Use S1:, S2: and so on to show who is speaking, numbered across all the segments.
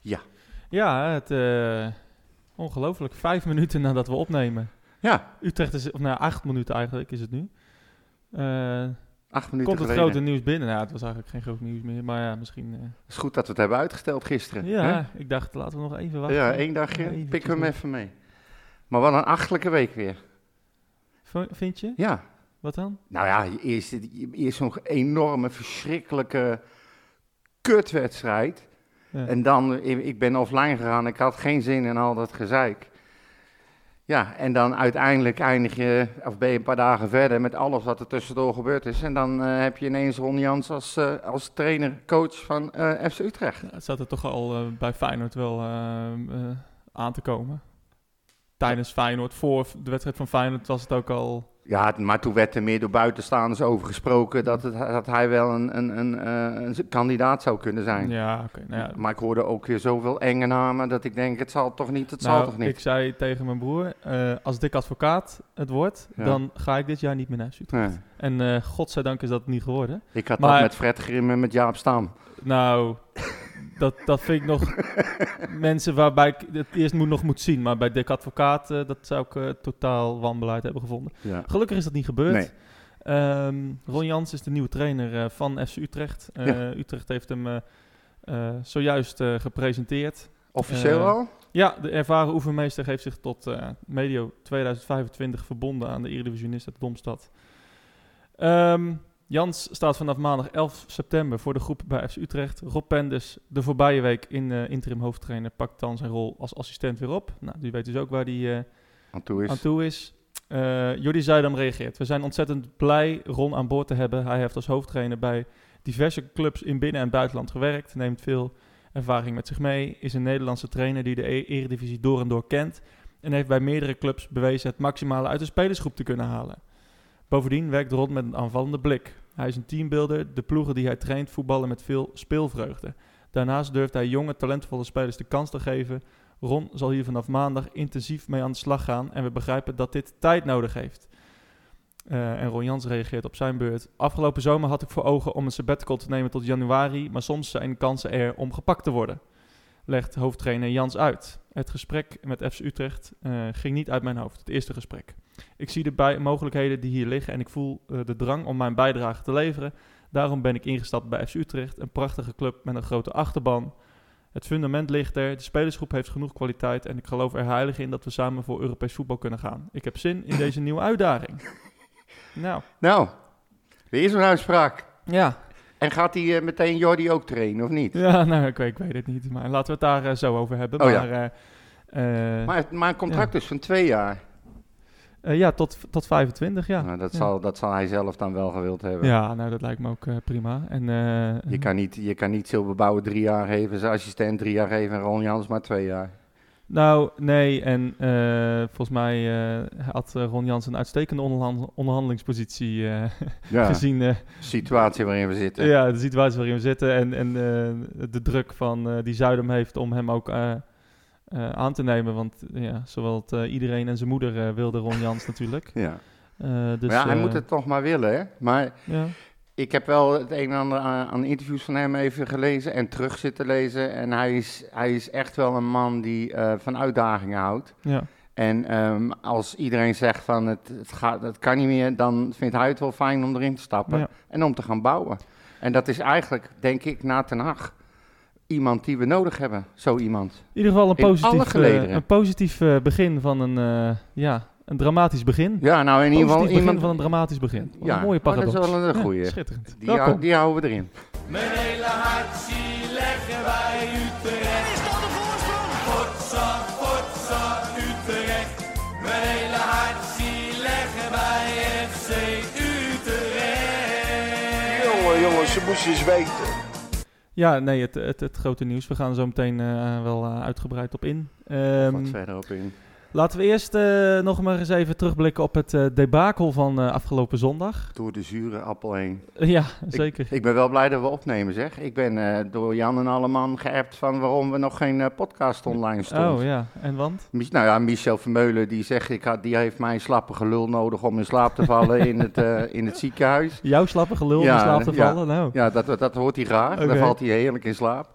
S1: Ja.
S2: Ja, het, eh, ongelooflijk. Vijf minuten nadat we opnemen.
S1: Ja,
S2: Utrecht is, of nou acht minuten eigenlijk is het nu. Eh,
S1: acht minuten
S2: komt het
S1: geleden.
S2: grote nieuws binnen? Nou, het was eigenlijk geen groot nieuws meer, maar ja, misschien... eh,
S1: Het is goed dat we het hebben uitgesteld gisteren. hè?
S2: ja, ik dacht, laten we nog even wachten.
S1: ja één dagje.
S2: Eventjes
S1: Pikken we hem
S2: nog.
S1: even mee. Maar wat een achtelijke week weer.
S2: V- Vind je?
S1: Ja.
S2: Wat dan?
S1: Nou ja, eerst, eerst zo'n enorme, verschrikkelijke kutwedstrijd.
S2: Ja.
S1: En dan, ik ik ben offline gegaan, ik had geen zin in al dat gezeik. Ja, en dan uiteindelijk eindig je, of ben je een paar dagen verder met alles wat er tussendoor gebeurd is. En dan eh, heb je ineens Ron Jans als, eh, als trainer, coach van eh, FC Utrecht.
S2: Ja, het zat er toch al eh, bij Feyenoord wel eh, eh, aan te komen. Tijdens Feyenoord, voor de wedstrijd van Feyenoord was het ook al...
S1: Ja, het- maar toen werd er meer door buitenstaanders over gesproken dat, het, dat hij wel een, een, een, eh, een kandidaat zou kunnen zijn.
S2: Ja, oké. nou ja,
S1: Maar ik hoorde ook weer zoveel enge namen dat ik denk, het zal toch niet, het zal
S2: Nou,
S1: toch niet.
S2: Ik zei tegen mijn broer, eh, als dik advocaat het wordt,
S1: Ja.
S2: dan ga ik dit jaar niet meer naar Utrecht.
S1: Nee.
S2: En eh godzijdank is dat niet geworden.
S1: Ik had dat
S2: Maar-
S1: met Fred Grim en met Jaap Stam.
S2: Nou, dat, dat vind ik nog mensen waarbij ik het eerst moet, nog moet zien. Maar bij dik advocaat, eh, dat zou ik eh, totaal wanbeleid hebben gevonden.
S1: Ja.
S2: Gelukkig is dat niet gebeurd.
S1: Nee.
S2: Ehm, Ron Jans is de nieuwe trainer eh, van FC Utrecht. Eh,
S1: Ja.
S2: Utrecht heeft hem eh, eh, zojuist eh, gepresenteerd.
S1: Officieel
S2: Eh,
S1: al?
S2: Ja, de ervaren oefenmeester heeft zich tot eh, medio 2025 verbonden aan de Eredivisionist uit Domstad. Ehm, Jans staat vanaf maandag 11 september voor de groep bij FC Utrecht. Rob Penders, de voorbije week in eh, interim hoofdtrainer, pakt dan zijn rol als assistent weer op. Nou, die weet dus ook waar die eh,
S1: Aan toe is.
S2: aan toe is. Eh Jordi Zuidam reageert. We zijn ontzettend blij Ron aan boord te hebben. Hij heeft als hoofdtrainer bij diverse clubs in binnen- en buitenland gewerkt. Neemt veel ervaring met zich mee. Is een Nederlandse trainer die de E- eredivisie door en door kent. En heeft bij meerdere clubs bewezen het maximale uit de spelersgroep te kunnen halen. Bovendien werkt Ron met een aanvallende blik. Hij is een teambuilder. De ploegen die hij traint voetballen met veel speelvreugde. Daarnaast durft hij jonge, talentvolle spelers de kans te geven Ron zal hier vanaf maandag intensief mee aan de slag gaan en we begrijpen dat dit tijd nodig heeft. Eh, en Ron Jans reageert op zijn beurt. Afgelopen zomer had ik voor ogen om een sabbatical te nemen tot januari, maar soms zijn de kansen er om gepakt te worden. Legt hoofdtrainer Jans uit. Het gesprek met FC Utrecht eh, ging niet uit mijn hoofd, het eerste gesprek. Ik zie de bij- mogelijkheden die hier liggen en ik voel eh, de drang om mijn bijdrage te leveren. Daarom ben ik ingestapt bij FC Utrecht, een prachtige club met een grote achterban. Het fundament ligt er, de spelersgroep heeft genoeg kwaliteit en ik geloof er heilig in dat we samen voor Europees voetbal kunnen gaan. Ik heb zin in deze nieuwe uitdaging. Nou,
S1: Nou, weer zo'n uitspraak.
S2: ja.
S1: En gaat hij eh, meteen Jordi ook trainen of niet?
S2: Ja, nou, ik weet, ik weet het niet, maar laten we het daar eh, zo over hebben.
S1: Oh ja.
S2: maar, eh, ja.
S1: Maar, het- maar een contract dus van twee jaar.
S2: eh, ja, tot, tot 25, ja.
S1: Nou, dat,
S2: ja.
S1: zal, dat zal hij zelf dan wel gewild hebben.
S2: Ja, nou, dat lijkt me ook eh, prima. En, eh,
S1: Je, kan niet, je kan niet Silberbouwer drie jaar geven, zijn assistent drie jaar geven en Ron Jans maar twee jaar.
S2: Nou, nee. En eh, volgens mij eh, had eh, Ron Jans een uitstekende onderhan- onderhandelingspositie eh,
S1: Ja,
S2: gezien eh,
S1: situatie waarin we zitten.
S2: Ja, de situatie waarin we zitten en, en eh, de druk van, eh, die Zuidem heeft om hem ook eh, eh, aan te nemen. Want eh, ja, zowel het, eh, iedereen en zijn moeder eh, wilde Ron Jans natuurlijk.
S1: Ja.
S2: Eh, dus,
S1: maar ja, hij
S2: eh,
S1: moet het toch maar willen, hè? Maar
S2: ja.
S1: ik heb wel het een en ander aan, aan interviews van hem even gelezen en terug zitten lezen. En hij is, hij is echt wel een man die eh, van uitdagingen houdt.
S2: Ja.
S1: En ehm, als iedereen zegt van het, het, gaat, het kan niet meer, dan vindt hij het wel fijn om erin te stappen
S2: Ja.
S1: en om te gaan bouwen. En dat is eigenlijk, denk ik, na Ten Haag iemand die we nodig hebben. Zo iemand.
S2: In ieder geval een
S1: In alle
S2: positief, eh,
S1: gelederen.
S2: een positief eh, begin van een, eh, ja, een dramatisch begin.
S1: Ja, nou in ieder
S2: Positief
S1: geval
S2: begin
S1: iemand
S2: van een dramatisch begin. Wat
S1: Ja,
S2: een mooie
S1: maar dat is
S2: paradox.
S1: wel een
S2: Ja,
S1: goeie.
S2: schitterend.
S1: die,
S2: Welkom.
S1: hou- die houden we erin.
S3: Mijn hele hart zie leggen wij Utrecht. Is dat de voorsprong? Potsa, potsa, Utrecht. Mijn hele hart zie leggen wij FC Utrecht.
S4: Jongen, jongen, ze moesten eens weten.
S2: Ja, nee, het, het, het grote nieuws. We gaan er zo meteen eh, wel eh, uitgebreid op in. Ehm,
S1: Wat verder op in.
S2: Laten we eerst eh, nog maar eens even terugblikken op het eh, debakel van eh, afgelopen zondag.
S1: Door de zure appel heen.
S2: Eh, ja, zeker.
S1: Ik ben wel blij dat we opnemen, zeg. Ik ben eh, door Jan en Alleman geappt van waarom we nog geen eh, podcast online stond.
S2: oh ja, en want?
S1: Mich- Nou ja, Michel Vermeulen die zegt, ik had, die heeft mijn slappe gelul nodig om in slaap te vallen in, het, eh, in het ziekenhuis.
S2: Jouw slappe gelul om in
S1: Ja,
S2: slaap te
S1: ja.
S2: vallen? Nou,
S1: Ja, dat, dat hoort hij graag.
S2: Oké.
S1: Daar valt hij heerlijk in slaap.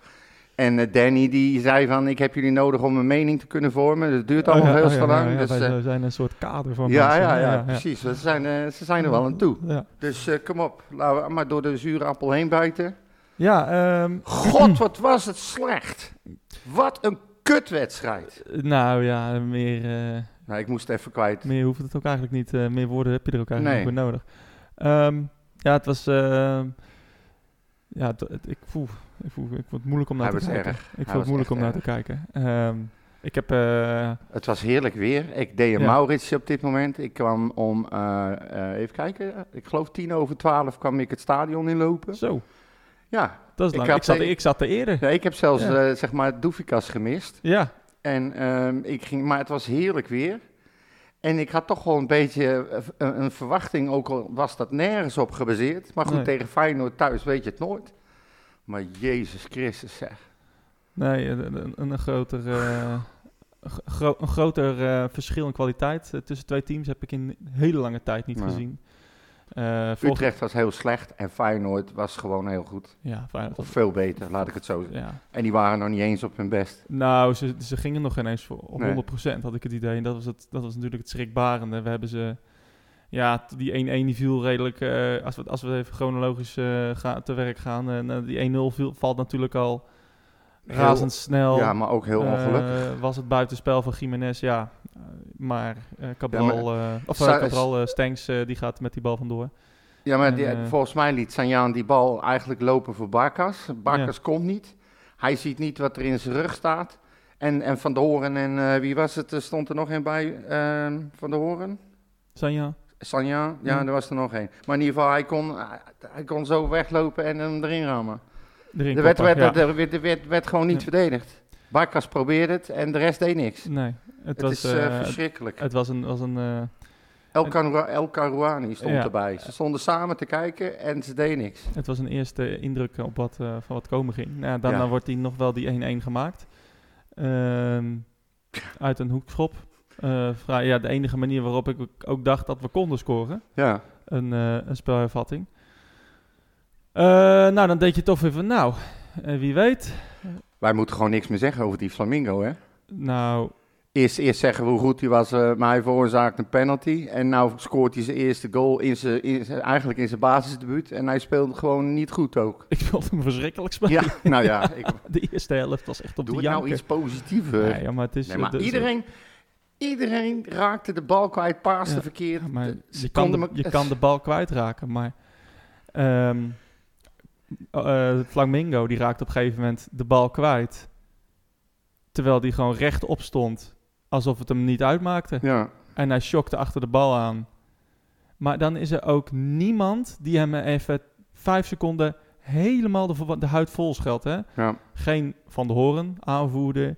S1: En eh, Danny die zei van, ik heb jullie nodig om een mening te kunnen vormen. Dat duurt allemaal
S2: Oh ja,
S1: heel
S2: oh ja,
S1: te lang.
S2: ja, ja,
S1: dus,
S2: wij
S1: eh,
S2: zijn een soort kader van
S1: ja,
S2: mensen.
S1: ja, ja, precies. Ze zijn, eh, ze zijn er wel aan toe.
S2: Ja,
S1: Dus eh, kom op, laten we maar door de zure appel heen bijten.
S2: ja ehm,
S1: God, wat was het slecht. Wat een kutwedstrijd.
S2: nou ja, meer, eh,
S1: Nou, ik moest het even kwijt.
S2: meer hoeft het ook eigenlijk niet. eh, meer woorden heb je er ook eigenlijk
S1: Nee.
S2: niet voor nodig. Ehm, ja, het was... ehm, ja, het- het- ik, voel, ik, voel, ik vond het moeilijk om naar
S1: Hij
S2: te
S1: was
S2: kijken.
S1: erg.
S2: Ik vond
S1: was
S2: het moeilijk om
S1: echt
S2: naar te kijken. Ehm, ik heb... eh,
S1: Het was heerlijk weer. Ik deed een
S2: Ja.
S1: Mauritsje op dit moment. Ik kwam om, eh, eh, even kijken, ik geloof tien over twaalf kwam ik het stadion inlopen.
S2: zo,
S1: Ja,
S2: dat is
S1: Ik
S2: lang. Ik,
S1: had
S2: zat,
S1: tegen-
S2: ik zat er eerder.
S1: nee, ik heb zelfs
S2: Ja.
S1: eh, zeg maar Doefikas gemist.
S2: Ja,
S1: En, ehm, ik ging, maar het was heerlijk weer. En ik had toch wel een beetje eh, v- een, een verwachting, ook al was dat nergens op gebaseerd. Maar goed,
S2: Nee.
S1: tegen Feyenoord thuis weet je het nooit. Maar Jezus Christus zeg.
S2: Nee, een, een- een, een groter, eh, gro- gro- een groter eh, verschil in kwaliteit eh, tussen twee teams heb ik in hele lange tijd niet
S1: Nee.
S2: gezien. Eh volg-
S1: Utrecht was heel slecht en Feyenoord was gewoon heel goed.
S2: Ja, Feyenoord
S1: Of
S2: was-
S1: veel beter, laat ik het zo zeggen.
S2: ja.
S1: En die waren nog niet eens op hun best.
S2: Nou, ze, ze gingen nog ineens voor op
S1: Nee.
S2: 100% had ik het idee. En dat was, het, dat was natuurlijk het schrikbarende. We hebben ze... Ja, t- die 1-1 die viel redelijk... eh, als, we, als we even chronologisch eh, ga- te werk gaan... eh, nou, die 1-0 viel- valt natuurlijk al
S1: Heel-
S2: razendsnel.
S1: Ja, maar ook heel ongelukkig.
S2: Eh, was het buitenspel van Jiménez, ja. Eh, maar eh Cabral,
S1: Ja,
S2: eh, of,
S1: Sa-
S2: eh, Cabral eh, Stengs, eh, die gaat met die bal vandoor.
S1: Ja, maar die-
S2: en, eh,
S1: volgens mij liet Sanjaan die bal eigenlijk lopen voor Barkas. Barkas komt niet. Hij ziet niet wat er in zijn rug staat. En, en Van de Horen en eh, wie was het? Er stond er nog een bij ehm, Van de Horen?
S2: Sanja?
S1: Sanjaan? Ja,
S2: Hmm.
S1: er was er nog een. Maar in ieder geval, hij kon, hij kon zo weglopen en hem erin rammen.
S2: erin
S1: Er werd,
S2: koppen,
S1: werd,
S2: ja.
S1: er werd, er werd, werd gewoon niet
S2: Ja.
S1: verdedigd. Barkas probeerde het en de rest deed niks. Het,
S2: Nee, het, was,
S1: is eh,
S2: eh, het,
S1: verschrikkelijk.
S2: het was een... Was een eh,
S1: El, Karou- El Karouani stond
S2: Ja.
S1: erbij. Ze stonden samen te kijken en ze deden niks.
S2: Het was een eerste indruk op wat, eh, van wat komen ging. Nou, ja, daarna
S1: Ja.
S2: wordt die nog wel die 1-1 gemaakt. Ehm, uit een hoekschop. Eh, vrij, ja, de enige manier waarop ik ook dacht dat we konden scoren.
S1: Ja.
S2: Een, eh een spelhervatting. Eh, nou, dan denk je toch weer van, nou, eh, wie weet.
S1: Wij moeten gewoon niks meer zeggen over die Flamingo, hè?
S2: Nou,
S1: Eerst, eerst zeggen we hoe goed hij was, eh, maar hij veroorzaakte een penalty. En nou scoort hij zijn eerste goal in zijn, in zijn- eigenlijk in zijn basisdebuut. En hij speelde gewoon niet goed ook.
S2: ik vond hem verschrikkelijk spelen.
S1: Ja, nou ja, ik,
S2: De eerste helft was echt op
S1: doe
S2: de
S1: het
S2: janken.
S1: nou iets positiever.
S2: Nee, ja, maar het is...
S1: Nee, maar
S2: eh, de-
S1: iedereen, iedereen raakte de bal kwijt, paaste
S2: Ja,
S1: verkeerd.
S2: Ja, maar
S1: De- ze
S2: je, kan
S1: konden
S2: de,
S1: me-
S2: je kan de bal kwijtraken, maar... ehm eh, Flamingo, die raakt op een gegeven moment de bal kwijt. Terwijl die gewoon rechtop stond. Alsof het hem niet uitmaakte.
S1: Ja,
S2: En hij shockte achter de bal aan. Maar dan is er ook niemand die hem even vijf seconden helemaal de, vo- de huid vol scheldt. Hè?
S1: ja.
S2: Geen Van de Horen aanvoerder.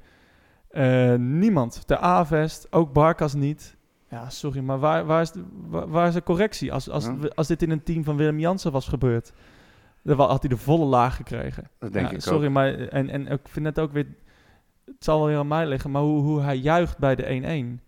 S2: Eh, niemand. De A-vest, ook Barkas niet. Ja, sorry, maar waar, waar, is, de, waar, waar is de correctie? Als, als,
S1: Ja.
S2: we- als dit in een team van Willem Jansen was gebeurd, dan wa- had hij de volle laag gekregen.
S1: dat denk
S2: Ja,
S1: ik
S2: sorry,
S1: ook.
S2: maar en, en ik vind het ook weer... Het zal wel weer aan mij liggen, maar hoe, hoe hij juicht bij de 1-1.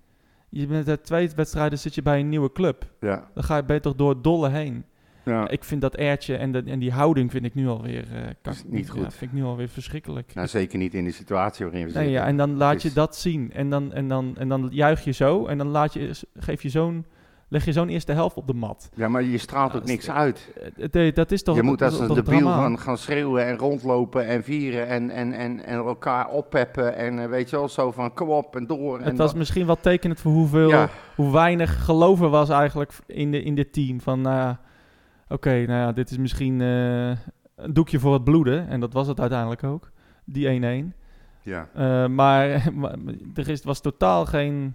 S2: Je bent uit twee wedstrijden zit je bij een nieuwe club.
S1: Ja,
S2: Dan ga je beter door het dolle heen.
S1: ja.
S2: Ik vind dat airtje en, dat- en die houding vind ik nu alweer... eh kan-
S1: Is niet
S2: ja,
S1: goed.
S2: vind ik nu alweer verschrikkelijk.
S1: Nou, zeker niet in de situatie waarin we zitten.
S2: Nee, ja, en dan laat je
S1: is-
S2: dat zien. En dan, en, dan, en dan juich je zo. En dan laat je, geef je zo'n, leg je zo'n eerste helft op de mat.
S1: ja, maar je straalt
S2: Ja,
S1: ook
S2: is-
S1: niks uit.
S2: Eh, eh, dat is toch...
S1: je moet
S2: dat
S1: als
S2: is
S1: een
S2: toch
S1: debiel
S2: drama?
S1: gaan, gaan schreeuwen en rondlopen en vieren en, en, en, en elkaar oppeppen. En eh, weet je wel, zo van kom op en door. en
S2: Het was
S1: dat-
S2: misschien wel tekenend voor hoeveel,
S1: Ja.
S2: hoe weinig geloof er was eigenlijk in, de, in dit team. Van, nou ja, oké, nou ja, dit is misschien eh, een doekje voor het bloeden. En dat was het uiteindelijk ook, die 1-1.
S1: ja.
S2: Eh, maar, maar er is, was totaal geen...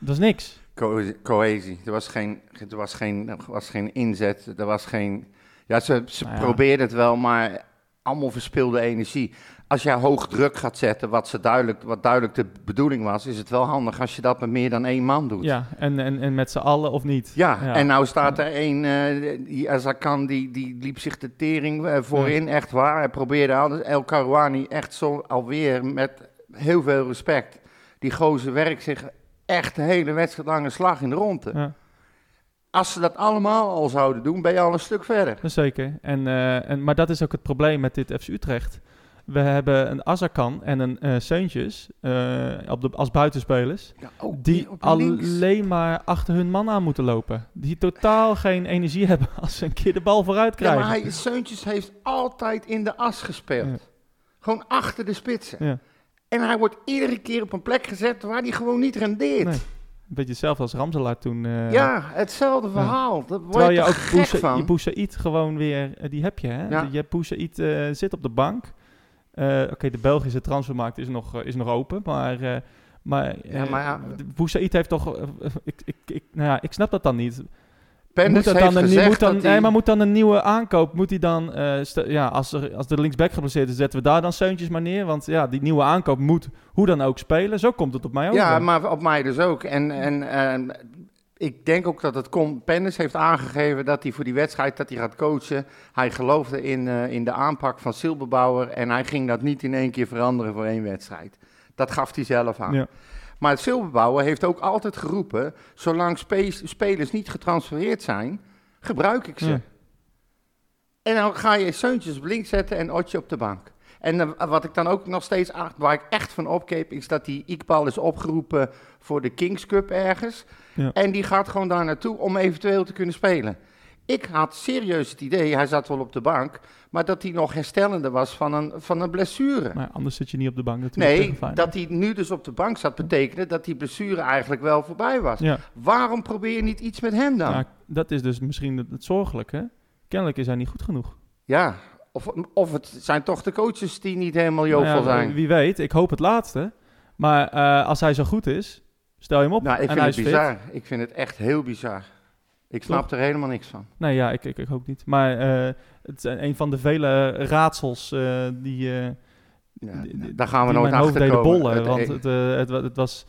S2: Dat is niks.
S1: Cohesie, cohesie. Er, was geen, er, was geen, er was geen inzet. Er was geen. Ja, ze, ze
S2: Nou ja.
S1: probeerden het wel, maar allemaal verspilde energie. Als jij hoog druk gaat zetten, wat, ze duidelijk, wat duidelijk de bedoeling was, is het wel handig als je dat met meer dan één man doet.
S2: Ja, en, en, en met z'n allen of niet.
S1: Ja,
S2: Ja.
S1: en nou staat er één, eh, die Azakan, die, die liep zich de tering eh, voorin, echt waar. Hij probeerde alles. El Karouani echt zo alweer met heel veel respect. Die gozer werkt zich echt de hele wedstrijd lang een slag in de ronde.
S2: Ja.
S1: Als ze dat allemaal al zouden doen, ben je al een stuk verder.
S2: Jazeker. En, eh, en, maar dat is ook het probleem met dit FC Utrecht. We hebben een Azarkan en een eh Seuntjes eh, op de, als buitenspelers.
S1: Ja, oh,
S2: Die
S1: op links.
S2: alleen maar achter hun man aan moeten lopen. Die totaal geen energie hebben als ze een keer de bal vooruit
S1: Ja,
S2: krijgen.
S1: maar hij, Seuntjes heeft altijd in de as gespeeld. Gewoon achter de spitsen.
S2: Ja.
S1: En hij wordt iedere keer op een plek gezet waar hij gewoon niet rendeert.
S2: Nee. Een beetje hetzelfde als Ramselaar toen. eh,
S1: Ja, hetzelfde verhaal. Daar word
S2: Terwijl
S1: je,
S2: je
S1: toch
S2: ook
S1: gek
S2: Boesa-
S1: van.
S2: je Boussaïd gewoon weer, eh, die heb je hè.
S1: Ja.
S2: Je hebt Boussaïd eh, zit op de bank. Eh, Oké, de Belgische transfermarkt is nog, eh, is nog open, maar... eh maar, eh
S1: Ja, maar ja.
S2: Boussaïd heeft toch... eh, eh, ik, ik, ik, nou ja, ik snap dat dan niet.
S1: Penders
S2: dat
S1: heeft
S2: dan een, nieuw-
S1: gezegd
S2: moet dan,
S1: dat hij-
S2: Nee, maar moet dan een nieuwe aankoop... Moet hij dan... eh, st- ja, als, er, als de linksback geblesseerd is, zetten we daar dan Seuntjes maar neer. Want ja, die nieuwe aankoop moet hoe dan ook spelen. Zo komt het op mij over.
S1: Ja, maar op mij dus ook. En, en ehm, ik denk ook dat het komt. Pennis heeft aangegeven dat hij voor die wedstrijd dat hij gaat coachen. Hij geloofde in, eh, in de aanpak van Silberbouwer. En hij ging dat niet in één keer veranderen voor één wedstrijd. Dat gaf hij zelf aan.
S2: Ja.
S1: Maar Silberbouwer heeft ook altijd geroepen: zolang spe- spelers niet getransfereerd zijn, gebruik ik ze.
S2: Ja.
S1: En dan ga je Seuntjes op links zetten en Otje op de bank. En eh, wat ik dan ook nog steeds, acht- waar ik echt van opkeep, is dat die Iqbal is opgeroepen voor de Kings Cup ergens.
S2: Ja.
S1: En die gaat gewoon daar naartoe om eventueel te kunnen spelen. Ik had serieus het idee, hij zat wel op de bank, maar dat hij nog herstellende was van een, van een blessure.
S2: Maar anders zit je niet op de bank natuurlijk.
S1: Nee,
S2: tegen Feyenoord.
S1: dat hij nu dus op de bank zat, betekende dat die blessure eigenlijk wel voorbij was.
S2: Ja.
S1: Waarom probeer je niet iets met hem dan?
S2: Ja, dat is dus misschien het, het zorgelijke. Kennelijk is hij niet goed genoeg.
S1: Ja, of, of het zijn toch de coaches die niet helemaal jovel
S2: Nou ja,
S1: zijn.
S2: Wie weet, ik hoop het laatste. Maar eh, als hij zo goed is, stel je hem op.
S1: Nou, ik
S2: en
S1: vind
S2: hij
S1: het
S2: is
S1: bizar. Ik vind het echt heel bizar. Ik snap er helemaal niks van.
S2: Fit. Nee, ja, ik, ik, ik ook niet. Maar eh, het zijn een van de vele raadsels eh, die, eh,
S1: Ja,
S2: Die- die-
S1: daar gaan we
S2: nou,
S1: nooit
S2: die mijn hoofd
S1: achter
S2: deden
S1: komen.
S2: bollen.
S1: Het-
S2: want het, eh, het, wa- het was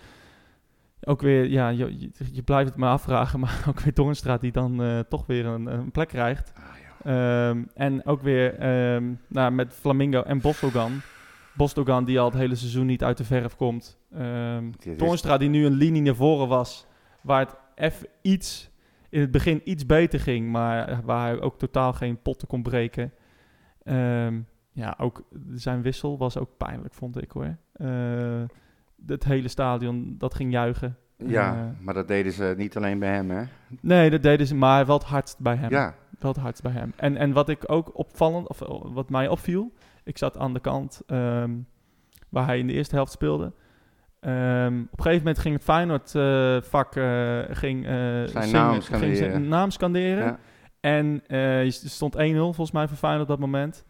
S2: ook weer, ja, je, je, je blijft het maar afvragen, maar ook weer Dornstraat die dan eh, toch weer een, een plek krijgt.
S1: Ah,
S2: Ehm, en ook weer ehm, nou, met Flamingo en Bostogan. Bostogan die al het hele seizoen niet uit de verf komt. Ehm
S1: Dit is-
S2: Toornstra die nu een linie naar voren was, waar het even iets, in het begin iets beter ging, maar waar hij ook totaal geen potten kon breken. Ehm, ja, ook zijn wissel was ook pijnlijk, vond ik hoor. Eh, het hele stadion, dat ging juichen.
S1: ja,
S2: Eh,
S1: maar dat deden ze niet alleen bij hem, hè?
S2: nee, dat deden ze, maar wel het hardst bij hem.
S1: Ja,
S2: Wel het hardst bij hem. En, en wat ik ook opvallend, of eh, wat mij opviel, ik zat aan de kant ehm, waar hij in de eerste helft speelde. Ehm, op een gegeven moment ging het Feyenoord eh, vak eh, ging, eh, zingen-
S1: naam
S2: ging
S1: scanderen.
S2: zijn naam scanderen.
S1: Ja.
S2: En eh, je stond 1-0 volgens mij voor Feyenoord op dat moment.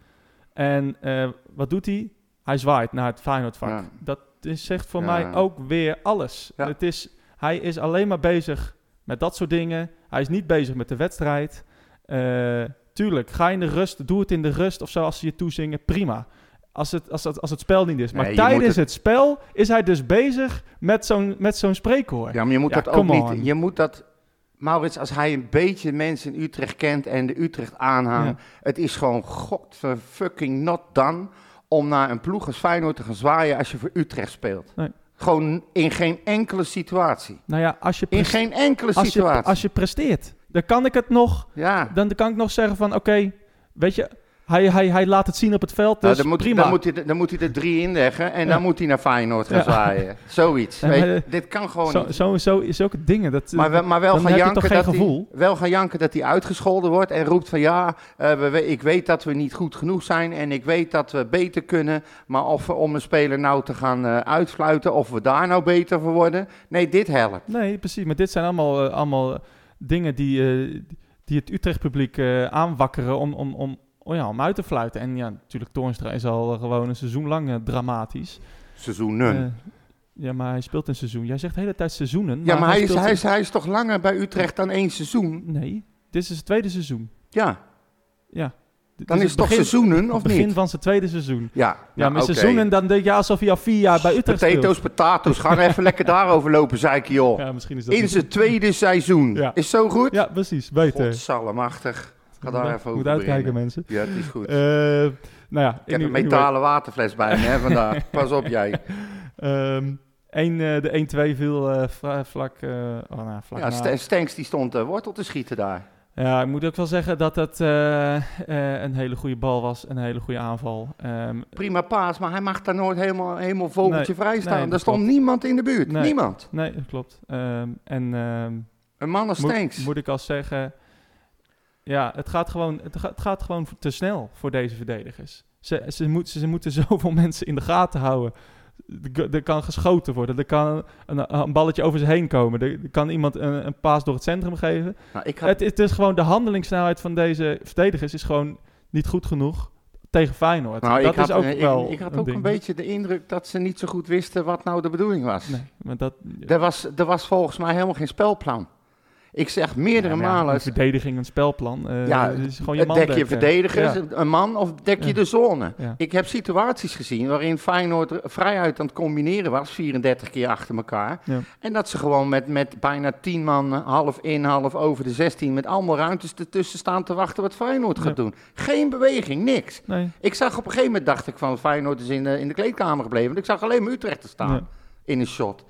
S2: En eh, wat doet hij? Hij zwaait naar het Feyenoord vak.
S1: Ja.
S2: Dat is, zegt voor
S1: Ja.
S2: mij ook weer alles.
S1: Ja.
S2: Het is, hij is alleen maar bezig met dat soort dingen. Hij is niet bezig met de wedstrijd. Eh, tuurlijk, ga in de rust, doe het in de rust of zo als ze je toezingen, prima. Als het, als, het, als het spel niet is. Maar
S1: Nee, je moet
S2: tijdens
S1: het-
S2: het... spel is hij dus bezig met zo'n, met zo'n spreekhoor.
S1: ja maar je moet
S2: Ja,
S1: dat ook
S2: come
S1: niet...
S2: on.
S1: Je moet dat... Maurits, als hij een beetje mensen in Utrecht kent en de Utrecht aanhang...
S2: Ja.
S1: Het is gewoon godverfucking not done om naar een ploeg als Feyenoord te gaan zwaaien als je voor Utrecht speelt.
S2: Nee.
S1: Gewoon in geen enkele situatie.
S2: Nou ja, als je,
S1: In
S2: preste-
S1: geen enkele
S2: als, je,
S1: situatie.
S2: als je presteert, dan kan ik het nog,
S1: ja.
S2: dan kan ik nog zeggen van oké, weet je, hij, hij, hij laat het zien op het veld, dus
S1: Nou, dan, moet,
S2: prima.
S1: dan, moet hij, de- dan moet hij er drie inleggen en
S2: Ja.
S1: dan moet hij naar Feyenoord gaan
S2: Ja.
S1: zwaaien. Zoiets.
S2: Ja,
S1: weet
S2: maar,
S1: je,
S2: eh,
S1: dit kan gewoon
S2: zo,
S1: niet.
S2: zo, zo is ook het ding. Dat,
S1: Maar, wel- maar wel,
S2: dan
S1: gaan
S2: heb je toch
S1: janken
S2: geen
S1: dat hij,
S2: gevoel?
S1: wel gaan janken dat hij uitgescholden wordt en roept van ja, eh, we- we- ik weet dat we niet goed genoeg zijn en ik weet dat we beter kunnen. Maar of we om een speler nou te gaan eh, uitfluiten of we daar nou beter voor worden. Nee, dit helpt.
S2: Nee, precies. Maar dit zijn allemaal, eh, allemaal eh, dingen die, eh, die het Utrecht-publiek eh, aanwakkeren om, om, om, oh ja, om uit te fluiten. En ja, natuurlijk, Toornstra is al eh, gewoon een seizoen lang eh, dramatisch.
S1: Seizoenen.
S2: Eh, ja, maar hij speelt een seizoen. Jij zegt de hele tijd seizoenen.
S1: ja, maar hij is,
S2: speelt
S1: hij, is, hij is toch langer bij Utrecht dan één seizoen?
S2: Nee, dit is het tweede seizoen.
S1: Ja,
S2: Ja. Dit
S1: dan is het toch
S2: begin-
S1: seizoenen of
S2: begin
S1: niet?
S2: van zijn tweede seizoen.
S1: Ja,
S2: Ja,
S1: nou,
S2: maar
S1: oké.
S2: seizoenen, dan denk je alsof hij al vier jaar bij Utrecht speelt.
S1: Potatoes, potatoes. Ga nou even lekker daarover lopen, zei ik joh.
S2: Ja, misschien is dat
S1: In
S2: niet-
S1: zijn tweede seizoen.
S2: Ja.
S1: Is zo goed?
S2: Ja, precies. Beter.
S1: Godsallemachtig. Ga daar even over
S2: Moet
S1: beginnen.
S2: uitkijken, mensen.
S1: Ja, het is goed.
S2: Eh, nou ja,
S1: ik heb een
S2: anyway.
S1: metalen waterfles bij me hè, vandaag. Pas op jij.
S2: Ehm, één, eh, de 1-2 viel eh, vla- vlak, eh, oh, nou, vlak
S1: Ja,
S2: na.
S1: St- Stenks die stond eh, wortel te schieten daar.
S2: Ja, ik moet ook wel zeggen dat het eh, eh, een hele goede bal was. Een hele goede aanval. Ehm,
S1: Prima paas, maar hij mag daar nooit helemaal, helemaal vogeltje vrij staan.
S2: nee, dat
S1: er stond
S2: klopt.
S1: niemand in de buurt.
S2: Nee.
S1: Niemand.
S2: nee, dat klopt. Ehm, en ehm,
S1: Een man als
S2: moet,
S1: Stenks.
S2: moet ik al zeggen... Ja, het gaat gewoon, het gaat, het gaat gewoon te snel voor deze verdedigers. Ze, ze, moet, ze, ze moeten zoveel mensen in de gaten houden. Er k- Er kan geschoten worden. Er kan een, eh, een balletje over ze heen komen. Er er kan iemand een, een paas door het centrum geven.
S1: Nou, ik had
S2: Het, het is gewoon de handelingssnelheid van deze verdedigers is gewoon niet goed genoeg tegen Feyenoord.
S1: Nou,
S2: dat
S1: ik had,
S2: is ook
S1: eh, ik-
S2: wel.
S1: ik, had ook
S2: ding.
S1: een beetje de indruk dat ze niet zo goed wisten wat nou de bedoeling was.
S2: Nee, maar dat.
S1: Er was, er was volgens mij helemaal geen spelplan. Ik zeg meerdere
S2: Ja, maar Nou ja,
S1: malen,
S2: een verdediging, een spelplan. eh,
S1: Ja,
S2: het is gewoon je
S1: het
S2: man
S1: dek je
S2: dekken.
S1: verdedigers,
S2: Ja,
S1: een man of dek je
S2: Ja.
S1: de zone.
S2: ja.
S1: Ik heb situaties gezien waarin Feyenoord r- vrijuit aan het combineren was, 34 keer achter elkaar.
S2: Ja.
S1: En dat ze gewoon met, met bijna 10 man, eh, half in, half over de 16, met allemaal ruimtes ertussen staan te wachten wat Feyenoord gaat
S2: Ja.
S1: doen. Geen beweging, niks.
S2: Nee.
S1: Ik zag op een gegeven moment, dacht ik van Feyenoord is in de, in de kleedkamer gebleven. Want ik zag alleen maar Utrecht te staan
S2: Ja.
S1: in een shot.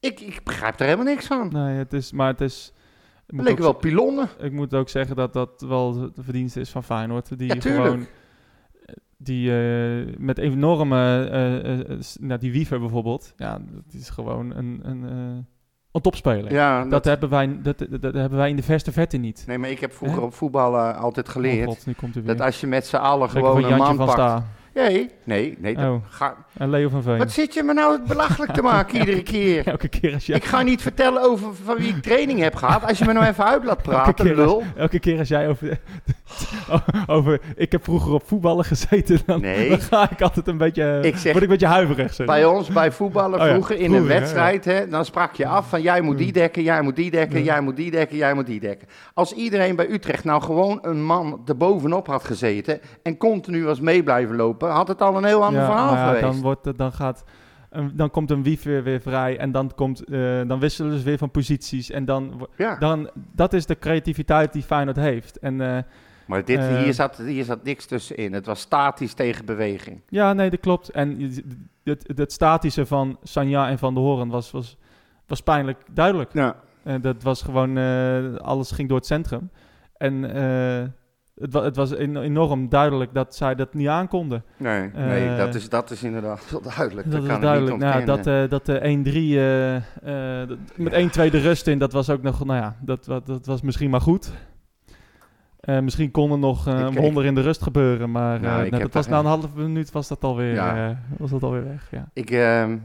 S1: Ik, ik begrijp er helemaal niks van.
S2: Nee, het is, maar het is. ik
S1: Het
S2: moet
S1: leek
S2: ook
S1: wel pilonnen.
S2: Ik moet ook zeggen dat dat wel de verdienste is van Feyenoord. Die
S1: Ja, tuurlijk.
S2: gewoon. Die eh, met enorme. eh, eh, s- nou, die Wiever bijvoorbeeld. Ja, dat is gewoon een, een, eh, een topspeler.
S1: Ja,
S2: dat,
S1: dat-
S2: hebben wij, dat, dat, dat hebben wij in de verste verte niet.
S1: nee, maar ik heb vroeger op voetbal eh, altijd
S2: Oh
S1: geleerd.
S2: god, nu komt hij weer.
S1: dat als je met z'n allen
S2: Zeker van
S1: gewoon een
S2: Jantje
S1: man
S2: van
S1: pakt.
S2: Sta
S1: Nee, nee, nee. dat-
S2: Oh.
S1: ga-
S2: en Leo van Veen.
S1: wat zit je me nou belachelijk te maken iedere keer?
S2: Elke keer als jij,
S1: Ik ga niet vertellen over van wie ik training heb gehad. Als je me nou even uit laat praten,
S2: keer
S1: lul.
S2: elke keer als jij over, over... Ik heb vroeger op voetballen gezeten. Dan,
S1: Nee.
S2: dan ga ik altijd een beetje...
S1: Ik zeg-
S2: word ik een beetje huiverig. zeg.
S1: Bij ons, bij voetballen
S2: Oh ja,
S1: vroeger in een
S2: vroeger, hè,
S1: wedstrijd, hè, dan sprak je af van jij moet die dekken, jij moet die dekken,
S2: Ja.
S1: jij moet die dekken, jij moet die dekken. Als iedereen bij Utrecht nou gewoon een man erbovenop had gezeten en continu was mee blijven lopen, had het al een heel ander
S2: Ja,
S1: verhaal
S2: maar ja,
S1: geweest.
S2: Dan, wordt, het- dan, gaat, een- dan komt een wief weer, weer vrij en dan, komt, eh, dan wisselen ze weer van posities. En dan, wo-
S1: ja.
S2: dan, dat is de creativiteit die Feyenoord heeft. En eh,
S1: Maar dit,
S2: Eh.
S1: hier, zat, hier zat niks tussenin. Het was statisch tegen beweging.
S2: ja, nee, dat klopt. En je- het, het statische van Sanja en Van de Horen was, was, was pijnlijk duidelijk.
S1: Ja.
S2: Eh, dat was gewoon, eh, alles ging door het centrum. En eh, het, wa- het was en- enorm duidelijk dat zij dat niet aankonden.
S1: Nee, nee
S2: Eh.
S1: dat, is, dat is inderdaad wel duidelijk.
S2: Dat
S1: Dat,
S2: is
S1: kan
S2: duidelijk.
S1: ik niet
S2: Nou,
S1: ontkennen.
S2: dat, eh, dat de 1-3 eh, eh, dat- met 1-2 de rust in, dat was ook nog, nou ja, dat, dat, dat was misschien maar goed. Eh, misschien kon er nog eh,
S1: Ik-
S2: een
S1: ik-
S2: wonder in de rust gebeuren, maar eh,
S1: Nou, ik
S2: nou,
S1: heb
S2: dat
S1: daar
S2: was na een
S1: geen-
S2: halve minuut was dat alweer,
S1: Ja.
S2: eh, was dat alweer weg. Ja.
S1: Ik, ehm,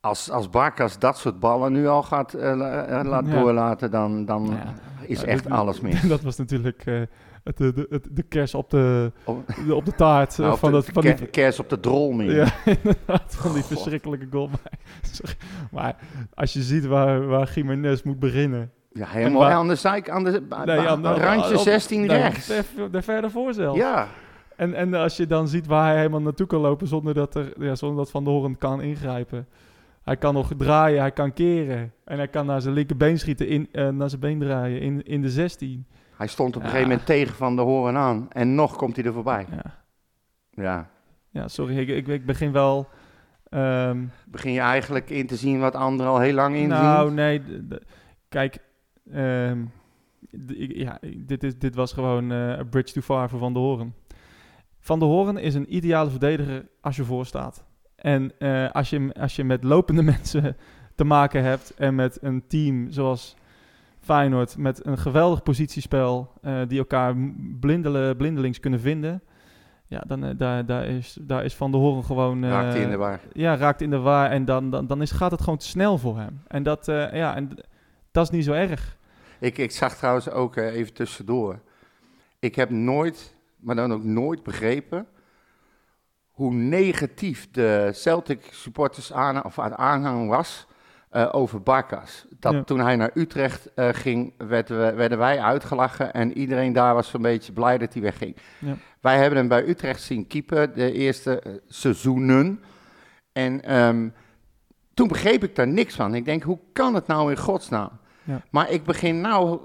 S1: als, als Barkas dat soort ballen nu al gaat eh, la- eh, laat
S2: Ja.
S1: doorlaten, dan, dan
S2: Nou ja.
S1: is
S2: Ja,
S1: echt
S2: dat-
S1: alles mis.
S2: dat was natuurlijk eh, het, de, de, het- de kers op de,
S1: Op-
S2: de- op de taart eh,
S1: Nou, of
S2: van,
S1: de-
S2: dat,
S1: de
S2: van,
S1: ker-
S2: die,
S1: kers op de drol meer.
S2: ja, inderdaad, van die
S1: God.
S2: verschrikkelijke goal. Maar, sorry, maar als je ziet waar, waar Jiménez moet beginnen,
S1: Ja,
S2: En
S1: helemaal
S2: waar-
S1: aan de zijk, aan de ba-
S2: Nee,
S1: ba-
S2: aan de-
S1: Ah, randje
S2: op-
S1: 16
S2: daar-
S1: rechts.
S2: daar- Daar verder voor zelfs.
S1: Ja,
S2: En, en als je dan ziet waar hij helemaal naartoe kan lopen zonder dat, er, ja, zonder dat Van de Horen kan ingrijpen. Hij kan nog draaien, hij kan keren. En hij kan naar zijn linkerbeen schieten, in, eh, naar zijn been draaien in, in de 16.
S1: hij stond op een
S2: Ja.
S1: gegeven moment tegen Van de Horen aan en nog komt hij er voorbij.
S2: Ja,
S1: Ja,
S2: ja sorry, ik, ik, ik begin wel... ehm,
S1: begin je eigenlijk in te zien wat anderen al heel lang inzien.
S2: nou, nee, d- d- kijk... ehm, d- ik- ja, ik- dit, is, dit was gewoon eh, a bridge too far voor Van de Horen. Van de Horen is een ideale verdediger als je voor staat. En eh, als, je, hem- als je met lopende mensen te maken hebt en met een team zoals Feyenoord, met een geweldig positiespel eh, die elkaar m- blindele, blindelings kunnen vinden, ja, dan eh, daar, daar, is, daar is Van de Horen gewoon... eh,
S1: Raakt hij in de war.
S2: ja, raakt in de war en dan, dan, dan is, gaat het gewoon te snel voor hem. En dat, eh, ja, en d- dat is niet zo erg.
S1: Ik, ik zag trouwens ook eh, even tussendoor. Ik heb nooit, maar dan ook nooit begrepen. hoe negatief de Celtic supporters aan, of aan aanhang was. eh, over Barkas. Dat
S2: Ja.
S1: toen hij naar Utrecht eh, ging, werden, we- werden wij uitgelachen. En iedereen daar was een beetje blij dat hij wegging.
S2: Ja.
S1: Wij hebben hem bij Utrecht zien keeper de eerste eh, seizoenen. En ehm, toen begreep ik daar niks van. Ik denk, hoe kan het nou in godsnaam?
S2: Ja.
S1: Maar ik begin nou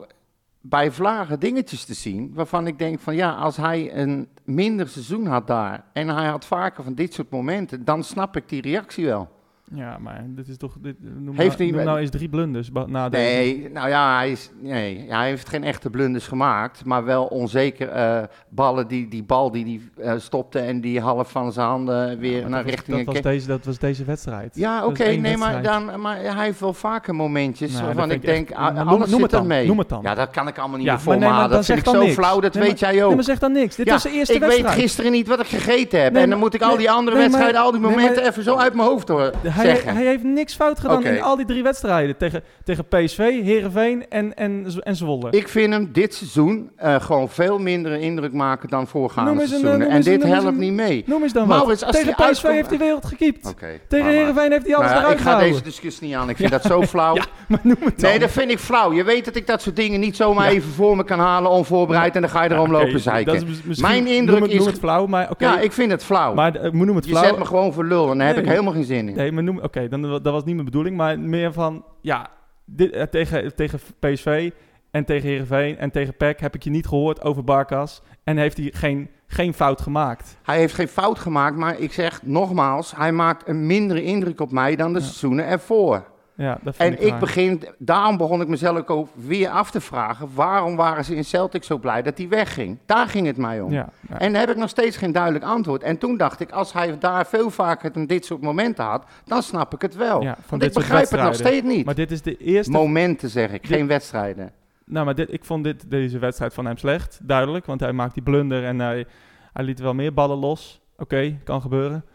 S1: bij Vlagen dingetjes te zien waarvan ik denk van ja, als hij een minder seizoen had daar en hij had vaker van dit soort momenten, dan snap ik die reactie wel.
S2: Ja, maar dit is toch... Dit, noem
S1: Heeft
S2: nou,
S1: hij-
S2: noem nou eens drie blunders ba- na deze.
S1: Nee, nou ja, hij, is, nee, hij heeft geen echte blunders gemaakt, maar wel onzeker eh, ballen, die, die bal die, die hij eh, stopte en die half van zijn handen weer
S2: Maar
S1: naar
S2: dat was-
S1: richting
S2: dat,
S1: een
S2: was
S1: ke-
S2: deze, dat was deze wedstrijd.
S1: Ja, oké,
S2: dat is één
S1: nee, maar,
S2: wedstrijd.
S1: dan, maar hij heeft wel vaker momentjes
S2: Nee, dat
S1: waarvan
S2: vind
S1: ik
S2: ik echt-
S1: denk, ah,
S2: Maar noem-
S1: alles
S2: noem
S1: zit
S2: het dan,
S1: ermee.
S2: noem het dan.
S1: Ja, dat kan ik allemaal niet
S2: Ja,
S1: meer
S2: maar nee,
S1: volmaken,
S2: maar dan
S1: dat vind
S2: zeg
S1: ik
S2: dan
S1: zo
S2: niks.
S1: flauw, dat
S2: Nee,
S1: weet jij ook.
S2: Nee, maar zeg dan niks. Dit
S1: Ja,
S2: was de eerste
S1: ik
S2: wedstrijd.
S1: weet gisteren niet wat ik gegeten heb.
S2: Nee,
S1: en dan
S2: maar-
S1: moet ik al die
S2: nee,
S1: andere
S2: nee, maar-
S1: wedstrijden, al die
S2: nee, maar-
S1: momenten even zo uit mijn hoofd hoor,
S2: Hij,
S1: zeggen.
S2: hij heeft niks fout gedaan
S1: Oké.
S2: in al die drie wedstrijden. Tegen, tegen PSV, Herenveen en, en, Z- en Zwolle.
S1: Ik vind hem dit seizoen eh, gewoon veel minder indruk maken dan voorgaande
S2: Noem eens een, eh,
S1: seizoenen.
S2: noem
S1: en
S2: eens een-
S1: dit
S2: noem eens
S1: helpt
S2: een-
S1: niet mee.
S2: Noem eens dan
S1: Maurits,
S2: wat.
S1: als
S2: Tegen
S1: die
S2: PSV
S1: uitkomt-
S2: heeft de wereld gekiept.
S1: Oké,
S2: Tegen
S1: maar-
S2: Herenveen heeft hij alles
S1: Nou ja,
S2: eruit
S1: ik ga
S2: gehouden.
S1: deze discussie niet aan. Ik vind dat zo flauw.
S2: Ja, maar noem het dan.
S1: nee, dat vind ik flauw. Je weet dat ik dat soort dingen niet zomaar even voor me kan halen, onvoorbereid. En dan ga je erom
S2: Oké,
S1: lopen zeiken.
S2: dat is mis- misschien-
S1: Mijn indruk
S2: noem het,
S1: is-
S2: Noem het flauw, maar oké.
S1: Ja, ik vind het flauw.
S2: maar eh, noem het
S1: je
S2: flauw.
S1: zet me gewoon voor lul en daar heb
S2: Nee.
S1: ik helemaal geen zin in.
S2: Nee, maar noem... Oké, dan dat was niet mijn bedoeling. Maar meer van... Ja, dit, eh, tegen, tegen PSV en tegen Herenveen en tegen PEC heb ik je niet gehoord over Barkas. En heeft hij geen, geen fout gemaakt.
S1: Hij heeft geen fout gemaakt, maar ik zeg nogmaals, hij maakt een mindere indruk op mij dan de
S2: Ja.
S1: seizoenen ervoor.
S2: Ja, dat vind
S1: En
S2: ik
S1: ik
S2: raar.
S1: begin, daarom begon ik mezelf ook weer af te vragen, waarom waren ze in Celtic zo blij dat hij wegging? Daar ging het mij om.
S2: Ja, ja.
S1: En daar heb ik nog steeds geen duidelijk antwoord. En toen dacht ik, als hij daar veel vaker dan dit soort momenten had, dan snap ik het wel.
S2: Ja, van
S1: Want
S2: dit
S1: ik
S2: soort
S1: begrijp het nog
S2: wedstrijden.
S1: steeds niet.
S2: Maar dit is de eerste.
S1: Momenten zeg ik,
S2: Dit-
S1: geen wedstrijden.
S2: nou, maar dit, ik vond dit, deze wedstrijd van hem slecht. Duidelijk, want hij maakt die blunder en hij, hij liet wel meer ballen los. Oké, kan gebeuren.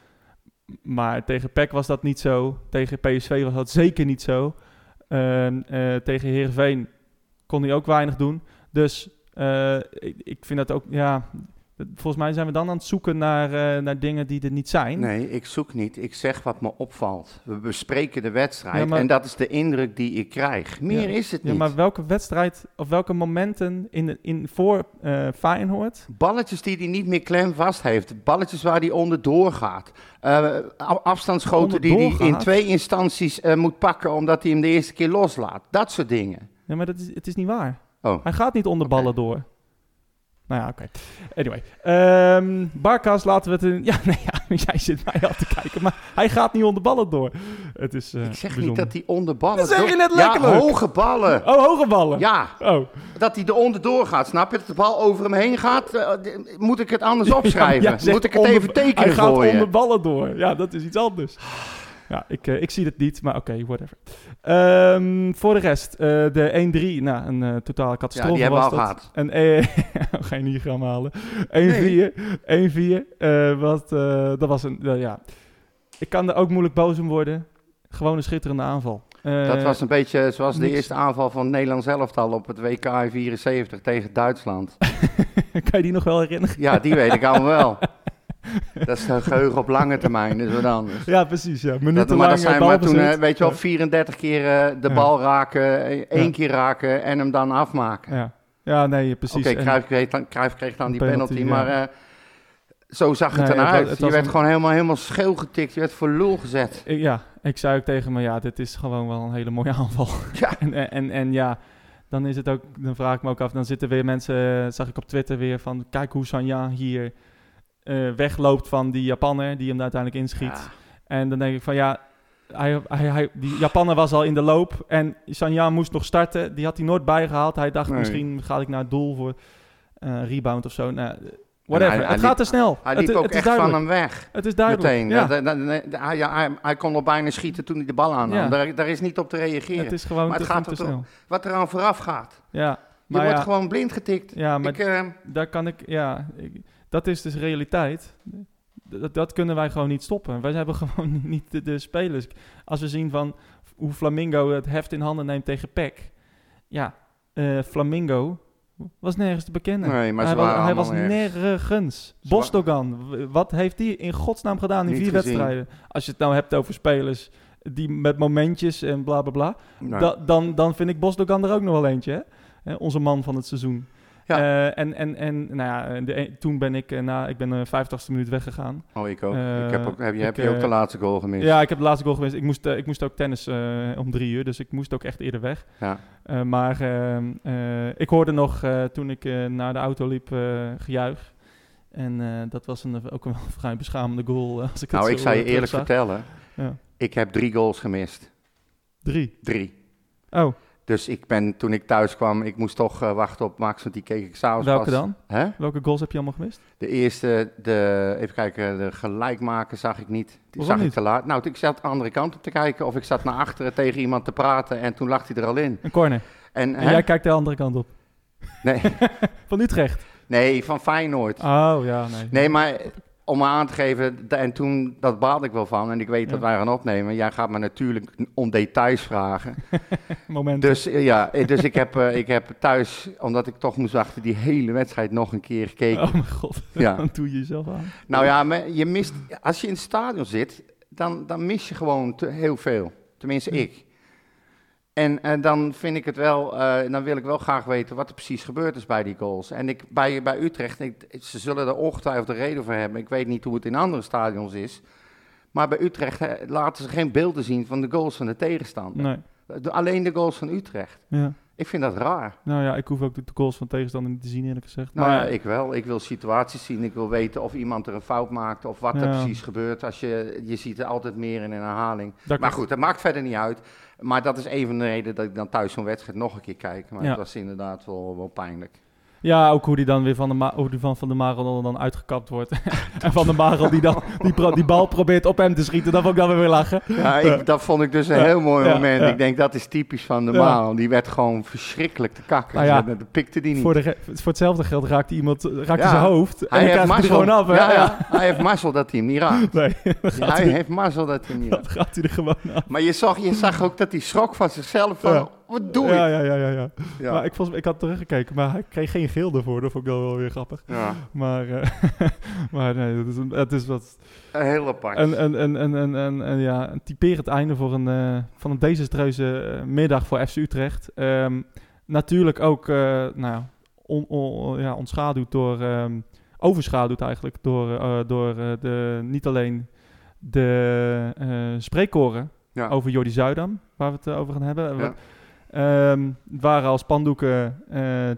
S2: Maar tegen PEC was dat niet zo. Tegen PSV was dat zeker niet zo. Ehm, eh, tegen Heerenveen kon hij ook weinig doen. Dus eh, ik, ik vind dat ook, ja... dat- Volgens mij zijn we dan aan het zoeken naar, eh, naar dingen die er niet zijn.
S1: Nee, ik zoek niet. Ik zeg wat me opvalt. We bespreken de wedstrijd
S2: Ja, maar-
S1: en dat is de indruk die ik krijg. Meer is het
S2: Ja,
S1: niet.
S2: maar welke wedstrijd of welke momenten in, in, voor eh Feyenoord
S1: Balletjes die hij niet meer klem vast heeft. Balletjes waar hij onderdoor gaat. Eh, a- afstandsschoten die hij in
S2: Onderdoor
S1: twee instanties eh, moet pakken omdat hij hem de eerste keer loslaat. Dat soort dingen.
S2: Ja, maar dat is, het is niet waar.
S1: Oh.
S2: Hij gaat niet onder
S1: Oké.
S2: ballen door. Nou ja, oké. Anyway. Ehm Barkas laten we het in... Ja, nee, ja, jij zit mij al te kijken. Maar hij gaat niet onder ballen door. Het is eh,
S1: Ik zeg niet
S2: bijzonder.
S1: dat hij onder ballen...
S2: Dat zeg je
S1: door-
S2: net
S1: Ja,
S2: letterlijk.
S1: hoge ballen.
S2: Oh, hoge ballen.
S1: Ja,
S2: Oh.
S1: dat hij er onderdoor gaat, snap je? Dat de bal over hem heen gaat. eh, d- moet ik het anders opschrijven?
S2: Ja, jij zegt
S1: moet ik het
S2: onder-
S1: even tekenen
S2: Hij gaat
S1: voor je?
S2: onder ballen door. Ja, dat is iets anders. Ja, ik, eh, ik zie het niet, maar oké, whatever. Ehm, voor de rest, eh, de 1-3, nou, een eh, totale catastrofe
S1: die hebben
S2: was
S1: we al
S2: dat.
S1: gehad.
S2: En, eh, geen diagram halen. 1-4, 1-4. eh, wat, eh, dat was een, nou ja. Ik kan er ook moeilijk boos om worden. Gewoon een schitterende aanval. Eh,
S1: Dat was een beetje zoals de
S2: niks.
S1: eerste aanval van Nederland zelf al op het WK in 74 tegen Duitsland.
S2: kan je die nog wel herinneren?
S1: Ja, die weet ik allemaal wel. Dat is een geheugen op lange termijn, dat is wat anders.
S2: Ja, precies. Ja. Minuten
S1: Dat,
S2: lang
S1: maar dat
S2: eh,
S1: zijn maar toen,
S2: balbezit.
S1: eh, weet je wel, 34 keer eh, de
S2: Ja.
S1: bal raken, eh, één
S2: Ja.
S1: keer raken en hem dan afmaken.
S2: Ja, ja nee, precies.
S1: Oké,
S2: En-
S1: Cruijff kreeg dan- Cruijff kreeg dan die
S2: Penalty,
S1: penalty, maar eh, zo zag het
S2: Nee, het
S1: eruit.
S2: wa- het
S1: je
S2: was
S1: werd
S2: een-
S1: gewoon helemaal, helemaal scheel getikt, je werd voor lul gezet.
S2: Ik- Eh, ja, ik zei ook tegen me, ja, dit is gewoon wel een hele mooie aanval.
S1: Ja.
S2: en, en, en, en ja, dan is het ook, dan vraag ik me ook af, dan zitten weer mensen, eh, zag ik op Twitter weer van, kijk hoe Sanja hier eh, wegloopt van die Japanner, die hem uiteindelijk inschiet.
S1: Ja.
S2: En dan denk ik van, ja, hij, hij, hij- die Japanner was al in de loop en Sanja moest nog starten. Die had hij nooit bijgehaald. Hij dacht,
S1: Nee.
S2: misschien ga ik naar het doel voor eh, rebound of zo. Nou, whatever,
S1: hij- hij
S2: het gaat
S1: liep-
S2: te snel.
S1: Hij
S2: het,
S1: liep ook
S2: het is
S1: echt
S2: duidelijk.
S1: van hem weg,
S2: het is duidelijk.
S1: meteen.
S2: Ja,
S1: Dat- dat- dat- hij, ja, hij, hij kon nog bijna schieten toen hij de bal aannam.
S2: Ja.
S1: Daar, daar is niet op te reageren.
S2: het is gewoon
S1: Maar
S2: te,
S1: het gaat
S2: te
S1: er toch-
S2: snel.
S1: Wat eraan vooraf gaat.
S2: Ja,
S1: Je
S2: maar
S1: wordt
S2: ja,
S1: gewoon blind getikt.
S2: ja, maar
S1: Ik, eh,
S2: daar kan ik, ja, ik- dat is dus realiteit. Dat, dat kunnen wij gewoon niet stoppen. Wij hebben gewoon niet de, de spelers. Als we zien van hoe Flamingo het heft in handen neemt tegen Peck. Ja, eh, Flamingo was nergens te bekennen.
S1: Nee, maar ze
S2: hij, was,
S1: waren
S2: hij was
S1: allemaal nergens.
S2: nergens.
S1: Ze
S2: Bostogan, w- wat heeft hij in godsnaam gedaan in
S1: Niet
S2: vier
S1: gezien.
S2: wedstrijden? Als je het nou hebt over spelers die met momentjes en bla bla bla.
S1: nou,
S2: Da- dan, dan vind ik Bosdogan er ook nog wel eentje. Hè? Eh, onze man van het seizoen.
S1: Ja.
S2: Eh, en en, en nou ja, en de, een- toen ben ik, eh, na, ik ben de 50ste minuut weggegaan.
S1: oh, ik ook.
S2: eh,
S1: ik heb ook heb, je-
S2: ik,
S1: heb je ook
S2: eh,
S1: de laatste goal gemist?
S2: Ja, ik heb de laatste goal gemist. Ik moest, eh, ik moest ook tennis eh, om drie uur, dus ik moest ook echt eerder weg.
S1: Ja.
S2: Eh, maar ehm, eh, ik hoorde nog eh, toen ik eh, naar de auto liep eh, gejuich. En eh, dat was een, ook een vrij beschamende goal. eh, als ik het
S1: Nou,
S2: zo,
S1: ik zou je
S2: eh,
S1: eerlijk
S2: terugzag.
S1: vertellen.
S2: Ja.
S1: Ik heb drie goals gemist.
S2: Drie.
S1: Drie.
S2: Oh,
S1: Dus ik ben, toen ik thuis kwam, ik moest toch eh, wachten op Max, want die keek ik s'avonds
S2: welke
S1: pas.
S2: dan?
S1: Hè?
S2: Welke goals heb je allemaal gemist?
S1: De eerste, de, even kijken, de gelijkmaker zag ik niet. Die
S2: Waarom
S1: zag
S2: niet?
S1: ik te laat. Nou, ik zat de andere kant op te kijken of ik zat naar achteren tegen iemand te praten en toen lag hij er al in.
S2: Een corner.
S1: En,
S2: En
S1: hè?
S2: jij kijkt de andere kant op.
S1: nee,
S2: Van Utrecht.
S1: nee, van Feyenoord.
S2: Oh, ja, nee.
S1: Nee, maar om maar aan te geven, da- en toen, dat baalde ik wel van. En ik weet dat
S2: Ja.
S1: wij gaan opnemen. Jij gaat me natuurlijk om details vragen.
S2: Moment.
S1: Dus eh, ja, eh, dus ik heb, eh, ik heb thuis, omdat ik toch moest wachten, die hele wedstrijd nog een keer gekeken.
S2: Oh mijn god,
S1: Ja.
S2: dan doe je jezelf aan.
S1: Nou ja, maar je mist, als je in het stadion zit, dan, dan mis je gewoon te- heel veel. Tenminste, ik. En eh, dan vind ik het wel, eh, dan wil ik wel graag weten wat er precies gebeurd is bij die goals. En ik, bij, bij Utrecht, ik, ze zullen er ongetwijfeld een reden voor hebben. Ik weet niet hoe het in andere stadions is. Maar bij Utrecht eh, laten ze geen beelden zien van de goals van de tegenstander.
S2: Nee.
S1: De- alleen de goals van Utrecht.
S2: Ja.
S1: Ik vind dat raar.
S2: Nou ja, ik hoef ook de de goals van tegenstander niet te zien, eerlijk gezegd.
S1: Nou
S2: maar
S1: ja, ik wel. Ik wil situaties zien. Ik wil weten of iemand er een fout maakt of wat er
S2: Ja.
S1: precies gebeurt. Als je, je ziet er altijd meer in een herhaling.
S2: daar
S1: Maar goed, dat maakt verder niet uit. Maar dat is een van de redenen dat ik dan thuis zo'n wedstrijd nog een keer kijk. Maar
S2: Ja.
S1: het was inderdaad wel, wel pijnlijk.
S2: Ja, ook hoe die dan weer van de, Ma- hoe die van, van de Marel dan uitgekapt wordt. en van de Marel die dan die, pro- die bal probeert op hem te schieten, dan vond ik dan weer weer lachen.
S1: Ja, ik, dat vond ik dus een
S2: Ja.
S1: heel mooi
S2: Ja,
S1: moment.
S2: ja.
S1: Ik denk dat is typisch van de
S2: Ja.
S1: Maal. Die werd gewoon verschrikkelijk te kakken.
S2: Nou ja,
S1: dat, dat pikte die niet.
S2: Voor, de, re- voor hetzelfde geld raakt iemand raakt
S1: Ja.
S2: zijn hoofd. En
S1: Hij
S2: dan
S1: heeft,
S2: krijgt hij er
S1: mazzel.
S2: gewoon af.
S1: ja,
S2: hè?
S1: ja. hij heeft mazzel dat hij hem niet raakt.
S2: Nee, dan gaat,
S1: Hij
S2: hij er,
S1: heeft mazzel dat hij hem niet raakt.
S2: dan gaat hij er gewoon af.
S1: Maar je zag, je zag ook dat hij schrok van zichzelf. Van,
S2: Ja.
S1: Wat doe ik?
S2: Ja, ja, ja, ja. ja.
S1: Ja.
S2: Maar ik, volgens, ik had teruggekeken, maar hij kreeg geen geel ervoor. Dat vond ik dan wel weer grappig.
S1: Ja,
S2: Maar, eh, maar nee, dat is, een- het is wat
S1: heel apart.
S2: En, en, en, en, en, en, en ja, een typerend einde voor een, eh, van een desastreuze eh, middag voor FC Utrecht. Ehm, natuurlijk ook eh, nou, ja, on, on- ja, ontschaduwd door, ehm, overschaduwd eigenlijk door, eh, door eh, de, niet alleen de eh, spreekkoren
S1: Ja.
S2: over Jordi Zuidam, waar we het eh, over gaan hebben.
S1: Ja.
S2: Ehm, het waren al spandoeken eh,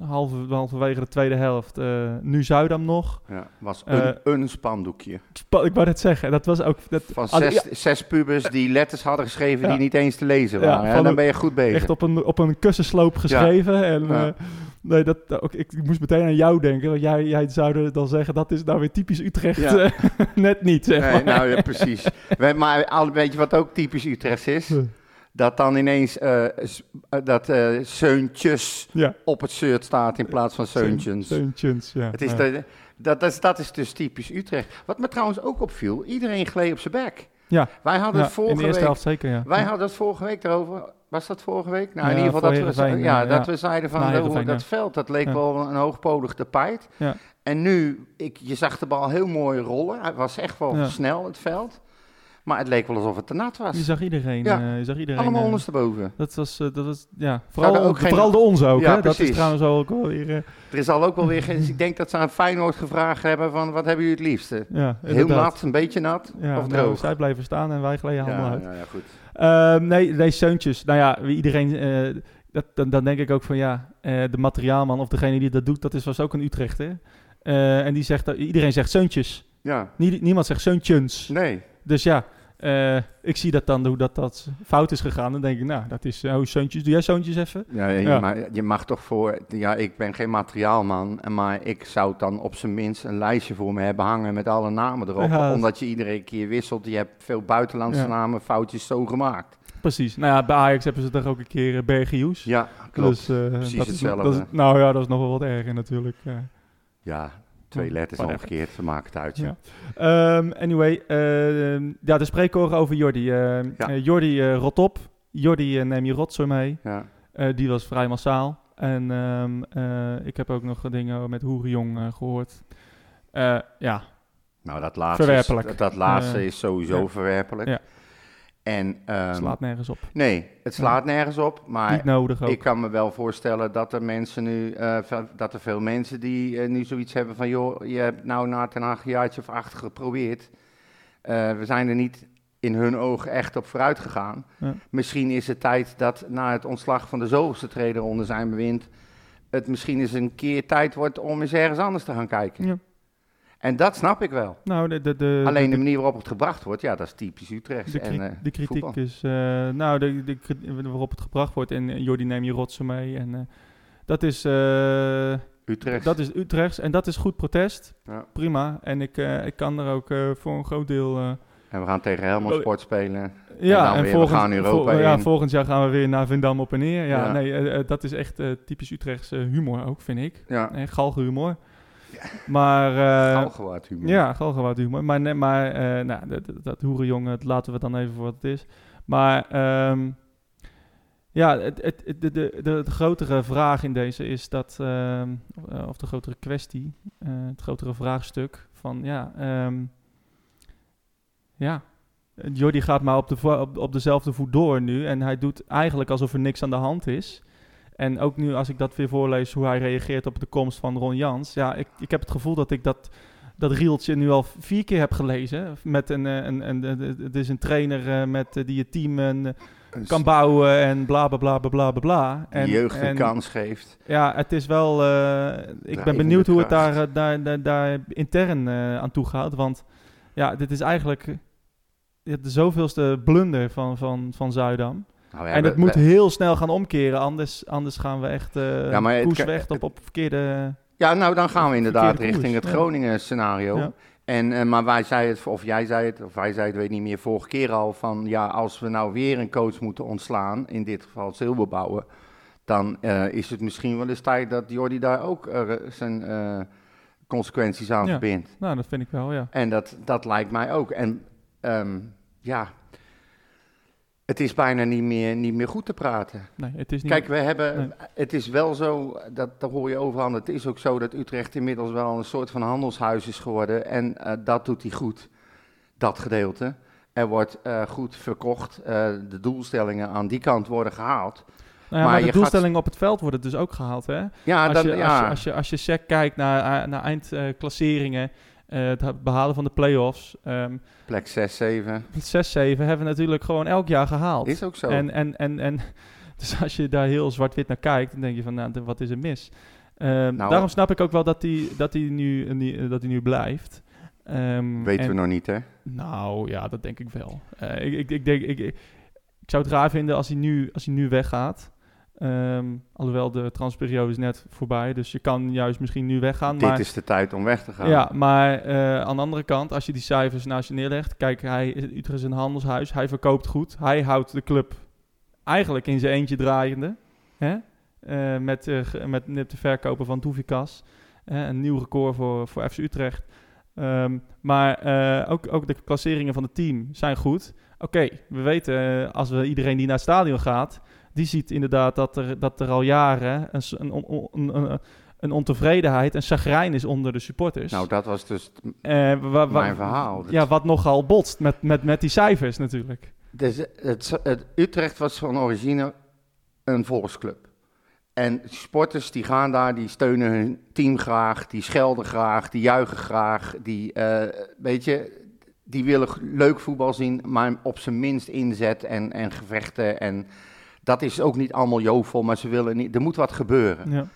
S2: halve, halverwege de tweede helft. eh, nu Zuidam nog.
S1: Ja, was
S2: Eh,
S1: een, een spandoekje.
S2: Spa- ik wou net zeggen, dat was ook... Dat,
S1: Van
S2: als-
S1: zes, zes pubers die letters hadden geschreven
S2: Ja.
S1: die niet eens te lezen
S2: Ja,
S1: waren. hè.
S2: van
S1: dan
S2: een-
S1: ben je goed bezig.
S2: Echt op een, op een kussensloop geschreven. En,
S1: Ja.
S2: eh, nee, dat, ook, ik, ik moest meteen aan jou denken. Want jij, jij zou dan zeggen, dat is nou weer typisch Utrecht.
S1: Ja.
S2: eh, net niet, zeg
S1: Nee,
S2: maar.
S1: nou ja, precies. We- maar al, weet je wat ook typisch Utrechts is?
S2: Hm.
S1: Dat dan ineens eh, s- eh, dat eh Seuntjes
S2: Ja.
S1: op het shirt staat in plaats van Seuntjens.
S2: Seuntjens, ja.
S1: Het is
S2: Ja.
S1: de- dat, dat, is, dat is dus typisch Utrecht. Wat me trouwens ook opviel, iedereen gleed op zijn bek.
S2: Ja.
S1: Wij hadden
S2: Ja,
S1: het vorige
S2: in de eerste
S1: week
S2: helft zeker, ja.
S1: Wij
S2: Ja.
S1: hadden het vorige week erover. Was dat vorige week? Nou,
S2: Ja,
S1: in ieder geval dat
S2: voor
S1: we,
S2: Heerenveen,
S1: ja,
S2: eh,
S1: dat
S2: ja.
S1: we zeiden
S2: Na
S1: van hoe-
S2: Heerenveen,
S1: dat
S2: ja.
S1: veld, dat leek
S2: Ja.
S1: wel een hoogpolig tapijt.
S2: Ja.
S1: En nu, ik, je zag de bal heel mooi rollen. Het was echt wel
S2: Ja.
S1: snel, het veld. Maar het leek wel alsof het te nat was.
S2: Je zag iedereen.
S1: Ja.
S2: eh, je zag iedereen
S1: Allemaal
S2: eh,
S1: ondersteboven.
S2: dat was, eh, dat was ja,
S1: er
S2: vooral,
S1: ook geen-
S2: vooral de ons ook.
S1: Ja,
S2: hè? Dat is
S1: precies.
S2: trouwens ook wel weer... eh,
S1: Er is al ook wel weer... geen- dus ik denk dat ze aan Feyenoord gevraagd hebben van... Wat hebben jullie het liefste?
S2: ja,
S1: Heel
S2: inderdaad.
S1: nat, een beetje nat
S2: Ja,
S1: of
S2: nou,
S1: droog?
S2: zij blijven staan en wij gleden allemaal
S1: ja,
S2: uit.
S1: ja, ja, goed.
S2: Ehm, nee, nee, Seuntjes. Nou ja, wie iedereen. eh, dat, dan, dan denk ik ook van ja, eh, de materiaalman of degene die dat doet, dat is, was ook een Utrechter. Eh en die zegt, dat- iedereen zegt Seuntjes.
S1: Ja,
S2: Nie- niemand zegt Seuntjens.
S1: nee.
S2: Dus ja, eh, ik zie dat dan, hoe dat, dat fout is gegaan. Dan denk ik, nou, dat is, eh, oh, Seuntjes, doe jij Seuntjes even?
S1: Ja, je,
S2: Ja.
S1: Maar je mag toch voor... Ja, ik ben geen materiaalman, en maar ik zou dan op zijn minst een lijstje voor me hebben hangen met alle namen erop.
S2: Ja, dat-
S1: omdat je iedere keer wisselt. Je hebt veel buitenlandse
S2: Ja.
S1: namen, foutjes zo gemaakt.
S2: Precies. Nou ja, bij Ajax hebben ze toch ook een keer eh, Bergius.
S1: Ja, klopt.
S2: Dus, eh,
S1: Precies
S2: dat is nog- dat
S1: hetzelfde.
S2: is- nou ja, dat is nog wel wat erger natuurlijk. eh. ja.
S1: ja, twee
S2: Oh,
S1: letters
S2: whatever.
S1: omgekeerd, ze maken het uit. Ja.
S2: Ja. Ehm, anyway, ehm, ja, de spreekkoren over Jordi. Ehm,
S1: Ja.
S2: eh, Jordi, eh, rot op. Jordi, eh, neem je rotzooi mee.
S1: Ja.
S2: Eh, die was vrij massaal. En ehm, eh, ik heb ook nog dingen met Hoerenjong eh, gehoord. Eh, ja,
S1: Nou, dat laatste,
S2: Verwerpelijk.
S1: Is, dat, dat laatste
S2: Eh,
S1: is sowieso
S2: ja.
S1: verwerpelijk.
S2: Ja.
S1: En, ehm,
S2: slaat nergens op.
S1: Nee, het slaat nergens op, maar...
S2: Niet nodig ook.
S1: Ik kan me wel voorstellen dat er mensen nu, eh, ve- dat er veel mensen die eh, nu zoiets hebben van, joh, je hebt nou na ten Haag een jaartje of acht geprobeerd. Eh, we zijn er niet in hun ogen echt op vooruit gegaan.
S2: Ja.
S1: Misschien is het tijd dat na het ontslag van de zoveelste trainer onder zijn bewind, het misschien eens een keer tijd wordt om eens ergens anders te gaan kijken.
S2: Ja.
S1: En dat snap ik wel.
S2: Nou, de, de, de,
S1: Alleen de manier waarop het gebracht wordt, ja, dat is typisch Utrecht.
S2: De, kri-
S1: en, eh,
S2: de kritiek
S1: voetbal.
S2: is, eh, nou, de, de, kri- waarop het gebracht wordt en eh, Jordi neem je rotsen mee. En, eh, dat, is, eh,
S1: Utrecht.
S2: dat is Utrechts en dat is goed protest.
S1: Ja.
S2: Prima. En ik, eh, ik kan er ook eh, voor een groot deel... eh,
S1: En we gaan tegen Helmond
S2: Oh.
S1: Sport spelen.
S2: ja,
S1: dan
S2: en
S1: weer, we
S2: volgend,
S1: gaan Europa
S2: ja,
S1: in.
S2: volgend jaar gaan we weer naar Vindam op en neer. Ja,
S1: Ja.
S2: Nee, eh, eh, dat is echt eh, typisch Utrechtse humor ook, vind ik.
S1: Ja,
S2: Eh, galgenhumor. Maar... eh,
S1: Galgenwaard humor.
S2: Ja, Galgenwaard humor. Maar, nee, maar eh, nou, dat, dat, dat hoerenjongen, dat laten we dan even voor wat het is. Maar ehm, ja, het, het, het- de, de, de, de grotere vraag in deze is dat, ehm, eh, of de grotere kwestie, eh, het grotere vraagstuk van ja, ehm, ja. Jordi gaat maar op, de vo- op, op dezelfde voet door nu en hij doet eigenlijk alsof er niks aan de hand is. En ook nu als ik dat weer voorlees, hoe hij reageert op de komst van Ron Jans. Ja, ik, ik heb het gevoel dat ik dat dat rieltje nu al vier keer heb gelezen. Met een, eh, een, een, een- het is een trainer eh, met, eh, die je team en, eh,
S1: Een s-
S2: kan bouwen en bla bla bla bla bla bla, bla.
S1: Dus- die
S2: En,
S1: jeugd
S2: en-
S1: een kans geeft.
S2: Ja, het is wel. eh, ik ben
S1: Drijvende
S2: benieuwd hoe het daar,
S1: kracht.
S2: eh, daar, daar, daar intern eh, aan toe gaat. Want ja, dit is eigenlijk eh, de zoveelste blunder van, van, van Zuidam.
S1: Nou, we
S2: en
S1: hebben-
S2: het moet
S1: we-
S2: heel snel gaan omkeren, anders, anders gaan we echt eh
S1: Ja, maar het
S2: koers
S1: kan-
S2: weg op, op verkeerde.
S1: Ja, nou dan gaan we inderdaad
S2: verkeerde koers,
S1: richting het
S2: ja.
S1: Groningen scenario.
S2: Ja.
S1: En, eh, maar wij zei het, of jij zei het, of wij zei het, weet niet meer, vorige keer al van ja, als we nou weer een coach moeten ontslaan, in dit geval Zilberbouwen, dan eh, is het misschien wel eens tijd dat Jordi daar ook eh, zijn eh, consequenties aan
S2: Ja.
S1: verbindt.
S2: Nou, dat vind ik wel, ja.
S1: En dat, dat lijkt mij ook. En ehm, ja, het is bijna niet meer, niet meer goed te praten.
S2: Nee, het is niet.
S1: Kijk, we hebben,
S2: Nee.
S1: het is wel zo, dat, dat hoor je overal, het is ook zo dat Utrecht inmiddels wel een soort van handelshuis is geworden. En eh, dat doet hij goed, dat gedeelte. Er wordt eh, goed verkocht, eh, de doelstellingen aan die kant worden gehaald.
S2: Nou ja, maar,
S1: Maar
S2: de
S1: je gaat-
S2: doelstellingen op het veld worden dus ook gehaald, hè?
S1: Ja,
S2: als,
S1: dat,
S2: je, als,
S1: ja.
S2: je, als, je, als je sec kijkt naar, eh, naar eindklasseringen, eh, het ha- behalen van de play-offs, ehm,
S1: plek 6, 7,
S2: het 6-7 hebben we natuurlijk gewoon elk jaar gehaald.
S1: is ook zo.
S2: En, en, en, en, dus als je daar heel zwart-wit naar kijkt, dan denk je van, nou, d- wat is er mis? Ehm,
S1: Nou,
S2: daarom snap ik ook wel dat hij dat die nu, eh, nie- eh, dat die nu blijft. Ehm,
S1: Weten
S2: en-
S1: we nog niet, hè?
S2: nou ja, dat denk ik wel. Eh, ik, ik, ik, denk, ik, ik, ik zou het raar vinden als hij nu, als hij nu weggaat. Ehm, alhoewel de transperiode is net voorbij, dus je kan juist misschien nu weggaan. maar,
S1: Dit is de tijd om weg te gaan.
S2: ja, maar eh, aan de andere kant, als je die cijfers naast je neerlegt, kijk, hij is, Utrecht is een handelshuis, hij verkoopt goed, hij houdt de club eigenlijk in zijn eentje draaiende, hè? Eh, met, eh, ge- met, met de verkopen van Doevikas, hè, een nieuw record voor, voor FC Utrecht. Ehm, maar eh, ook, ook de klasseringen van het team zijn goed. Oké, we weten, eh, als we iedereen die naar het stadion gaat, die ziet inderdaad dat er, dat er al jaren een, s- een, on- on- een, een, een ontevredenheid, een chagrijn is onder de supporters.
S1: Nou, dat was dus het-
S2: Eh, wa- wa-
S1: mijn verhaal.
S2: Ja, wat nogal botst met, met, met die cijfers natuurlijk.
S1: Dus het, het- Utrecht was van origine een volksclub. En sporters die gaan daar, die steunen hun team graag, die schelden graag, die juichen graag, die, eh, weet je, die willen g- leuk voetbal zien, maar op zijn minst inzet en, en gevechten. En dat is ook niet allemaal jovel, maar ze willen niet, er moet wat gebeuren.
S2: Ja.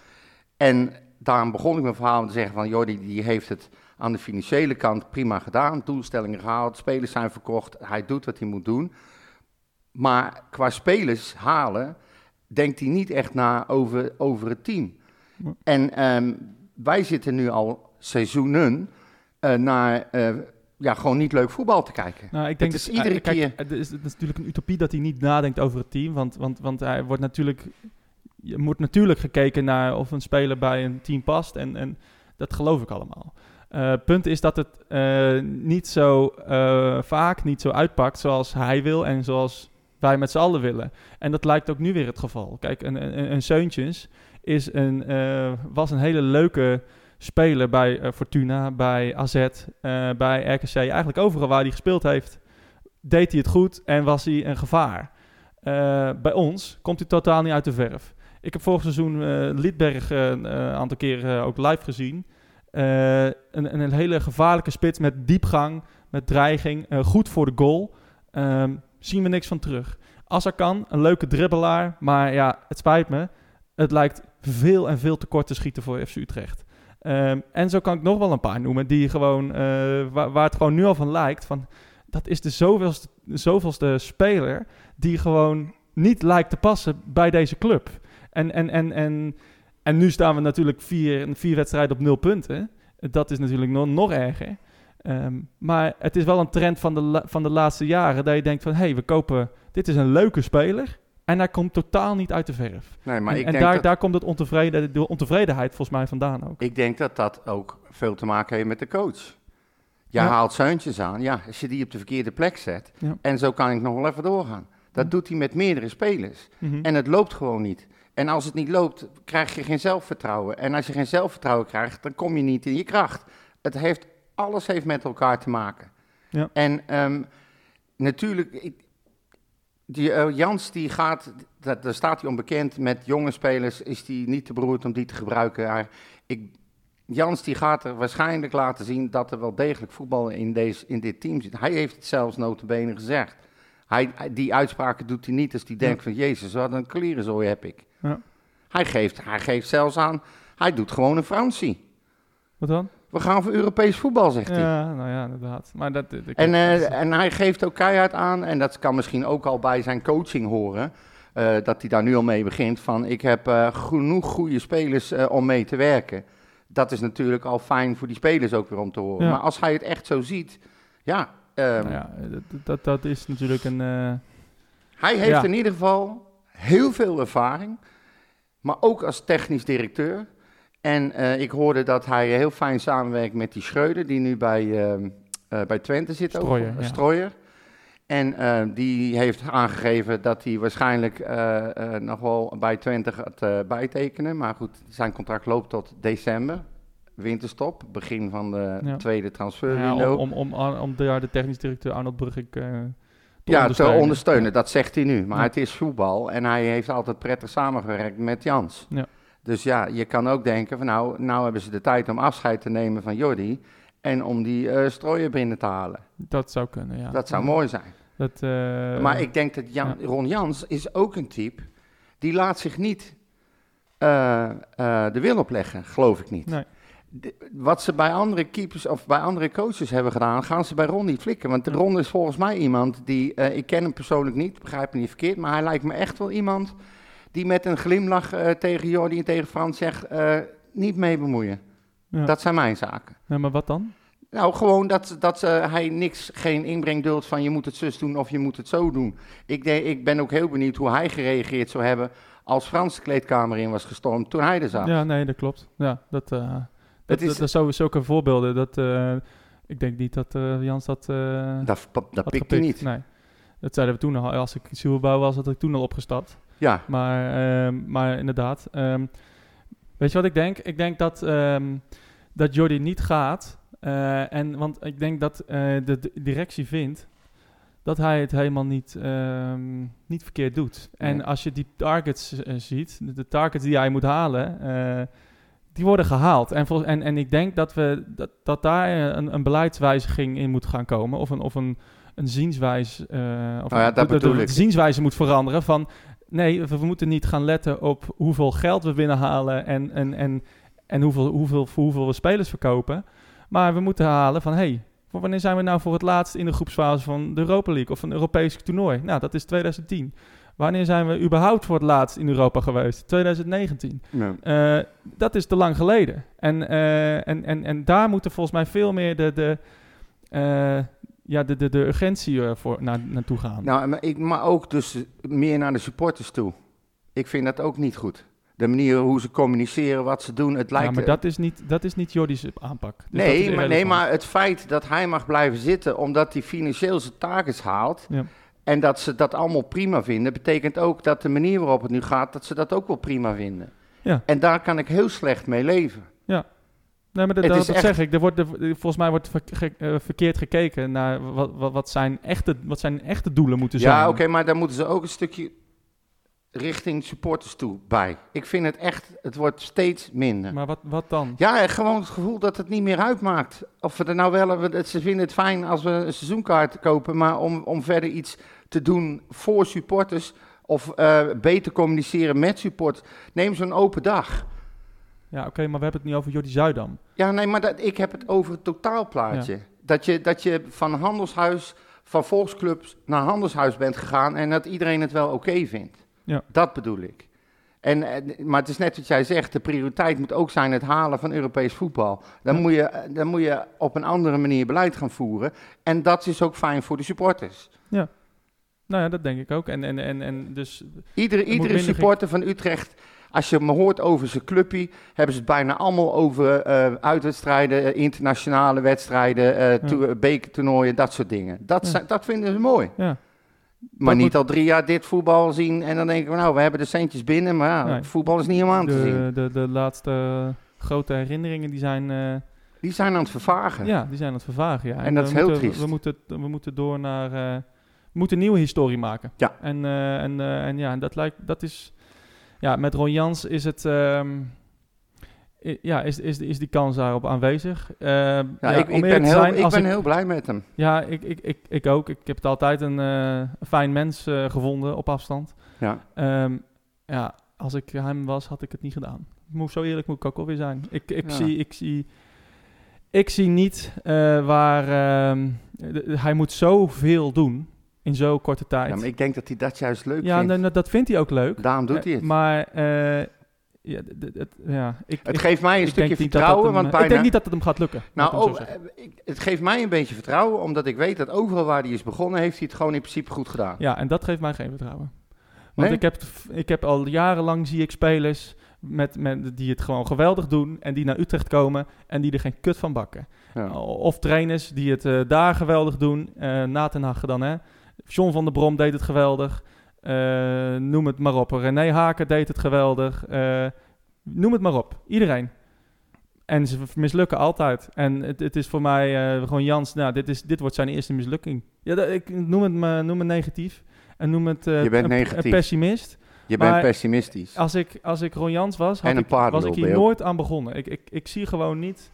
S1: En daarom begon ik mijn verhaal om te zeggen van Jordi die heeft het aan de financiële kant prima gedaan. Doelstellingen gehaald, spelers zijn verkocht, hij doet wat hij moet doen. Maar qua spelers halen denkt hij niet echt na over, over het team.
S2: Nee.
S1: En ehm, wij zitten nu al seizoenen eh, naar eh, ja, gewoon niet leuk voetbal te kijken.
S2: Nou, ik denk
S1: Het is
S2: dat,
S1: iedere
S2: eh, kijk,
S1: keer-
S2: Het is, het is natuurlijk een utopie dat hij niet nadenkt over het team. Want, want, want hij wordt natuurlijk. Je moet natuurlijk gekeken naar of een speler bij een team past. En, en dat geloof ik allemaal. Eh punt is dat het eh, niet zo eh, vaak, niet zo uitpakt zoals hij wil en zoals wij met z'n allen willen. En dat lijkt ook nu weer het geval. Kijk, een, een, een- een Seuntjens is een, eh, was een hele leuke speler bij eh, Fortuna, bij AZ, eh, bij RKC. Eigenlijk overal waar hij gespeeld heeft, deed hij het goed en was hij een gevaar. Eh, bij ons komt hij totaal niet uit de verf. Ik heb vorig seizoen eh Lidberg eh, een eh, aantal keren eh, ook live gezien. Eh, een, een hele gevaarlijke spits met diepgang, met dreiging, eh, goed voor de goal. Ehm, zien we niks van terug. Als er kan, een leuke dribbelaar. Maar ja, het spijt me. Het lijkt veel en veel te kort te schieten voor FC Utrecht. Ehm, en zo kan ik nog wel een paar noemen die gewoon, eh, waar, waar het gewoon nu al van lijkt. Van, dat is de zoveelste, zoveelste speler die gewoon niet lijkt te passen bij deze club. En, en, en, en, en nu staan we natuurlijk vier, vier wedstrijden op nul punten. Dat is natuurlijk nog, nog erger. Ehm, maar het is wel een trend van de, la- van de laatste jaren dat je denkt van... hé, hey, we kopen... Dit is een leuke speler en hij komt totaal niet uit de verf.
S1: Nee, maar
S2: en
S1: ik
S2: en
S1: denk
S2: daar,
S1: dat-
S2: daar komt het ontevreden, de ontevredenheid volgens mij vandaan ook.
S1: Ik denk dat dat ook veel te maken heeft met de coach. Je
S2: Ja.
S1: haalt zeuntjes aan. Ja, als je die op de verkeerde plek zet.
S2: Ja.
S1: En zo kan ik nog wel even doorgaan. Dat
S2: Ja.
S1: doet hij met meerdere spelers.
S2: Mhm.
S1: En het loopt gewoon niet. En als het niet loopt, krijg je geen zelfvertrouwen. En als je geen zelfvertrouwen krijgt, dan kom je niet in je kracht. Het heeft, alles heeft met elkaar te maken.
S2: Ja.
S1: En ehm, natuurlijk, ik- die, eh, Jans die gaat, dat, daar staat hij onbekend, met jonge spelers is hij niet te beroerd om die te gebruiken. Hij- ik, Jans die gaat er waarschijnlijk laten zien dat er wel degelijk voetbal in, deze, in dit team zit. Hij heeft het zelfs notabene gezegd. Hij, hij- die uitspraken doet hij niet als hij denkt van... Jezus, wat een klerenzooi heb ik.
S2: Ja.
S1: Hij, geeft, hij geeft zelfs aan... Hij doet gewoon een Fransie.
S2: Wat dan?
S1: We gaan voor Europees voetbal, zegt hij.
S2: Ja, nou ja, inderdaad. Maar dat, dat- dat-
S1: En, eh,
S2: dat-
S1: en hij geeft ook keihard aan, en dat kan misschien ook al bij zijn coaching horen, eh, dat hij daar nu al mee begint, van ik heb eh, genoeg goede spelers eh, om mee te werken. Dat is natuurlijk al fijn voor die spelers ook weer om te horen.
S2: Ja.
S1: Maar als hij het echt zo ziet, ja, ehm,
S2: nou ja, dat, dat, dat is natuurlijk een... eh,
S1: hij heeft
S2: Ja.
S1: in ieder geval heel veel ervaring, maar ook als technisch directeur. En eh, ik hoorde dat hij heel fijn samenwerkt met die Schreuder, die nu bij, ehm, eh, bij Twente zit. ook.
S2: Strooier, ja.
S1: Strooier. En ehm, die heeft aangegeven dat hij waarschijnlijk eh, eh, nog wel bij Twente gaat eh, bijtekenen. Maar goed, zijn contract loopt tot december. Winterstop, begin van de
S2: Ja.
S1: tweede transferwindow.
S2: ja, om, om, om, om daar de technisch directeur Arnold Brugge eh, te
S1: Ja, te
S2: ondersteunen.
S1: ondersteunen, dat zegt hij nu. Maar
S2: Ja.
S1: het is voetbal en hij heeft altijd prettig samengewerkt met Jans.
S2: Ja.
S1: Dus ja, je kan ook denken van nou, nou hebben ze de tijd om afscheid te nemen van Jordi en om die eh strooier binnen te halen.
S2: Dat zou kunnen, ja.
S1: Dat zou
S2: Ja.
S1: mooi zijn.
S2: Dat, eh,
S1: maar ik denk dat Jan, Ron Jans is ook een type die laat zich niet eh, eh, de wil opleggen, geloof ik niet.
S2: Nee.
S1: De- wat ze bij andere keepers of bij andere coaches hebben gedaan, gaan ze bij Ron niet flikken. Want Ron is volgens mij iemand die, eh, ik ken hem persoonlijk niet, begrijp me niet verkeerd, maar hij lijkt me echt wel iemand die met een glimlach eh, tegen Jordi en tegen Frans zegt, eh, niet mee bemoeien.
S2: Ja.
S1: Dat zijn mijn zaken.
S2: Nee, maar wat dan?
S1: Nou, gewoon dat, dat eh, hij niks, geen inbreng duldt van je moet het zus doen of je moet het zo doen. Ik, denk- ik ben ook heel benieuwd hoe hij gereageerd zou hebben als Frans de kleedkamer in was gestormd toen hij er zat.
S2: Ja, nee, dat klopt. Ja, dat, eh, dat,
S1: is-
S2: dat, dat zijn zulke voorbeelden. Dat, eh, ik denk niet dat eh, Jans dat, eh
S1: Dat, dat, dat
S2: had
S1: pikt hij
S2: gepikt.
S1: niet.
S2: Nee. Dat zeiden we toen al. Als ik Zielbouw was, had ik toen al opgestapt.
S1: Ja,
S2: Maar, ehm, maar inderdaad. ehm, weet je wat ik denk? Ik denk dat, ehm, dat Jordi niet gaat. eh, en, want ik denk dat eh, de de directie vindt dat hij het helemaal niet, ehm, niet verkeerd doet. En
S1: Nee.
S2: als je die targets eh, ziet, de, de targets die hij moet halen, eh, die worden gehaald. En, vol, en, en ik denk dat, we, dat, dat daar eh, een, een beleidswijziging in moet gaan komen. Of een, of een, een zienswijze. eh, of
S1: Nou ja,
S2: een-
S1: dat
S2: de- de-
S1: bedoel ik.
S2: de zienswijze moet veranderen van Nee, we, we moeten niet gaan letten op hoeveel geld we binnenhalen en, en, en, en hoeveel, hoeveel, voor hoeveel we spelers verkopen. Maar we moeten halen van, hé, hey, voor wanneer zijn we nou voor het laatst in de groepsfase van de Europa League of een Europees toernooi? Nou, dat is 2010. Wanneer zijn we überhaupt voor het laatst in Europa geweest? 2019.
S1: ja.
S2: Eh, dat is te lang geleden. En, eh, en, en, en daar moeten volgens mij veel meer de, de, eh, ja, de, de, de urgentie eh, voor, naar, naartoe gaan.
S1: Nou, maar, ik, maar ook dus meer naar de supporters toe. Ik vind dat ook niet goed. De manier hoe ze communiceren, wat ze doen, het lijkt...
S2: ja, maar dat is niet, dat is niet Jordi's aanpak. Dus dat
S1: nee,
S2: is
S1: maar, nee,
S2: irrelevant.
S1: maar het feit dat hij mag blijven zitten omdat hij financieel zijn taken haalt...
S2: Ja.
S1: en dat ze dat allemaal prima vinden... betekent ook dat de manier waarop het nu gaat, dat ze dat ook wel prima vinden.
S2: Ja.
S1: En daar kan ik heel slecht mee leven.
S2: Nee, maar dat,
S1: het
S2: dat,
S1: is
S2: dat
S1: echt-
S2: zeg ik. Er wordt, er- volgens mij wordt verk- ge- eh, verkeerd gekeken naar wat, wat, wat, zijn echte, wat zijn echte doelen moeten zijn.
S1: ja, oké, maar daar moeten ze ook een stukje richting supporters toe bij. Ik vind het echt, het wordt steeds minder.
S2: Maar wat, wat dan?
S1: Ja, gewoon het gevoel dat het niet meer uitmaakt. Of we er nou wel, we- ze vinden het fijn als we een seizoenkaart kopen, maar om, om verder iets te doen voor supporters of eh, beter communiceren met supporters, neem zo'n open dag.
S2: Ja, oké, maar we hebben het niet over Jordi Zuidam.
S1: Ja, nee, maar dat, ik heb het over het totaalplaatje. Dat, je, dat je van handelshuis, van volksclubs naar handelshuis bent gegaan en dat iedereen het wel oké vindt.
S2: Ja.
S1: Dat bedoel ik. En, eh, maar het is net wat jij zegt, de prioriteit moet ook zijn het halen van Europees voetbal. Dan, moet, je, eh, dan moet je op een andere manier beleid gaan voeren. En dat is ook fijn voor de supporters.
S2: Nou ja, dat denk ik ook. En, en, en, en dus,
S1: Iedere,
S2: moet
S1: iedere
S2: minder
S1: supporter van Utrecht, als je me hoort over zijn clubje, hebben ze het bijna allemaal over eh, uitwedstrijden, eh, internationale wedstrijden, eh to- bekertoernooien, dat soort dingen. Dat,
S2: Ja.
S1: zijn- dat vinden ze mooi.
S2: ja.
S1: Maar
S2: moet-
S1: niet al drie jaar dit voetbal zien en dan denken we, nou, we hebben de centjes binnen, maar ja,
S2: Nee.
S1: voetbal is niet om aan te zien.
S2: De, de, de laatste grote herinneringen die zijn, eh,
S1: Die zijn aan het vervagen.
S2: ja, die zijn aan het vervagen. Ja.
S1: En dat
S2: we
S1: is heel
S2: moeten-
S1: triest.
S2: We moeten, we moeten door naar... eh, we moeten een nieuwe historie maken.
S1: Ja.
S2: En, eh, en, eh, en ja, dat lijkt... Dat is... Ja, met Ron Jans is het... ehm, i- ja, is, is, is die kans daarop aanwezig. Ehm,
S1: Ja,
S2: ja,
S1: ik, ik
S2: om eerlijk
S1: ben,
S2: te
S1: heel,
S2: zijn,
S1: ik
S2: als
S1: ben heel blij met hem.
S2: Ja, ik, ik, ik, ik ook. Ik heb het altijd een eh, een fijn mens eh, gevonden op afstand.
S1: Ja.
S2: Ehm, ja, als ik hem was, had ik het niet gedaan. Moet, zo eerlijk moet ik ook alweer zijn. Ik, ik,
S1: Ja.
S2: zie, ik, zie, ik zie niet eh, waar... ehm, de- de- hij moet zoveel doen in zo'n korte tijd.
S1: Ja, maar ik denk dat hij dat juist leuk
S2: Ja,
S1: vindt.
S2: en dat- dat vindt hij ook leuk.
S1: Daarom doet hij
S2: Eh,
S1: het.
S2: Maar... eh, ja, d- d- het- ja, ik,
S1: het
S2: ik-
S1: geeft mij een
S2: ik denk
S1: stukje
S2: niet dat dat
S1: vertrouwen,
S2: hem,
S1: want
S2: eh,
S1: bijna...
S2: Ik denk niet dat het hem gaat lukken. laat
S1: Nou,
S2: ik het zo
S1: oh,
S2: zeggen.
S1: eh, ik- het geeft mij een beetje vertrouwen, omdat ik weet dat overal waar hij is begonnen, heeft hij het gewoon in principe goed gedaan.
S2: Ja, en dat geeft mij geen vertrouwen. Want
S1: Nee?
S2: ik, heb, ik heb al jarenlang zie ik spelers met, met, die het gewoon geweldig doen en die naar Utrecht komen en die er geen kut van bakken.
S1: Ja.
S2: Of trainers die het eh, daar geweldig doen, eh na ten Hag dan hè. John van der Brom deed het geweldig, Eh, noem het maar op. René Haken deed het geweldig, Eh, noem het maar op. Iedereen. En ze mislukken altijd. En het, het is voor mij eh, gewoon Jans, nou, dit, is, dit wordt zijn eerste mislukking. Ja, dat- ik noem het, me, noem het negatief. En noem het eh,
S1: Je bent
S2: een-
S1: negatief.
S2: een pessimist.
S1: Je bent
S2: maar-
S1: pessimistisch.
S2: Als ik, als ik Ron Jans was, had
S1: En een
S2: ik,
S1: paardenlul
S2: was ik
S1: ben
S2: hier
S1: je ook.
S2: nooit aan begonnen. Ik, ik, ik zie gewoon niet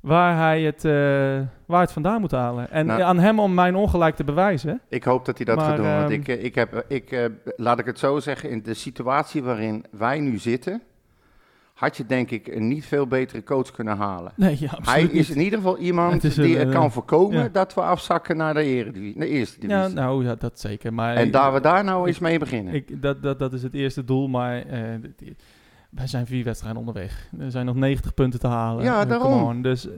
S2: waar hij het, eh, waar het vandaan moet halen. En
S1: Nou.
S2: aan hem om mijn ongelijk te bewijzen.
S1: Ik hoop dat hij dat
S2: Maar,
S1: gaat doen, want
S2: ehm,
S1: ik, eh, ik heb, eh, ik, eh, laat ik het zo zeggen, in de situatie waarin wij nu zitten, had je denk ik een niet veel betere coach kunnen halen.
S2: Nee, ja, absoluut
S1: Hij is
S2: niet.
S1: in ieder geval iemand
S2: Het is
S1: die
S2: een,
S1: het
S2: eh,
S1: kan voorkomen
S2: ja.
S1: dat we afzakken naar de, eredivi- de eerste divisie.
S2: Ja, nou, ja, dat zeker. Maar
S1: en daar we daar nou
S2: ik-
S1: eens mee beginnen.
S2: Ik, dat, dat, dat is het eerste doel, maar eh, d- d- wij zijn vier wedstrijden onderweg. Er zijn nog 90 punten te halen.
S1: Ja,
S2: Eh, come
S1: daarom.
S2: on. Dus, eh,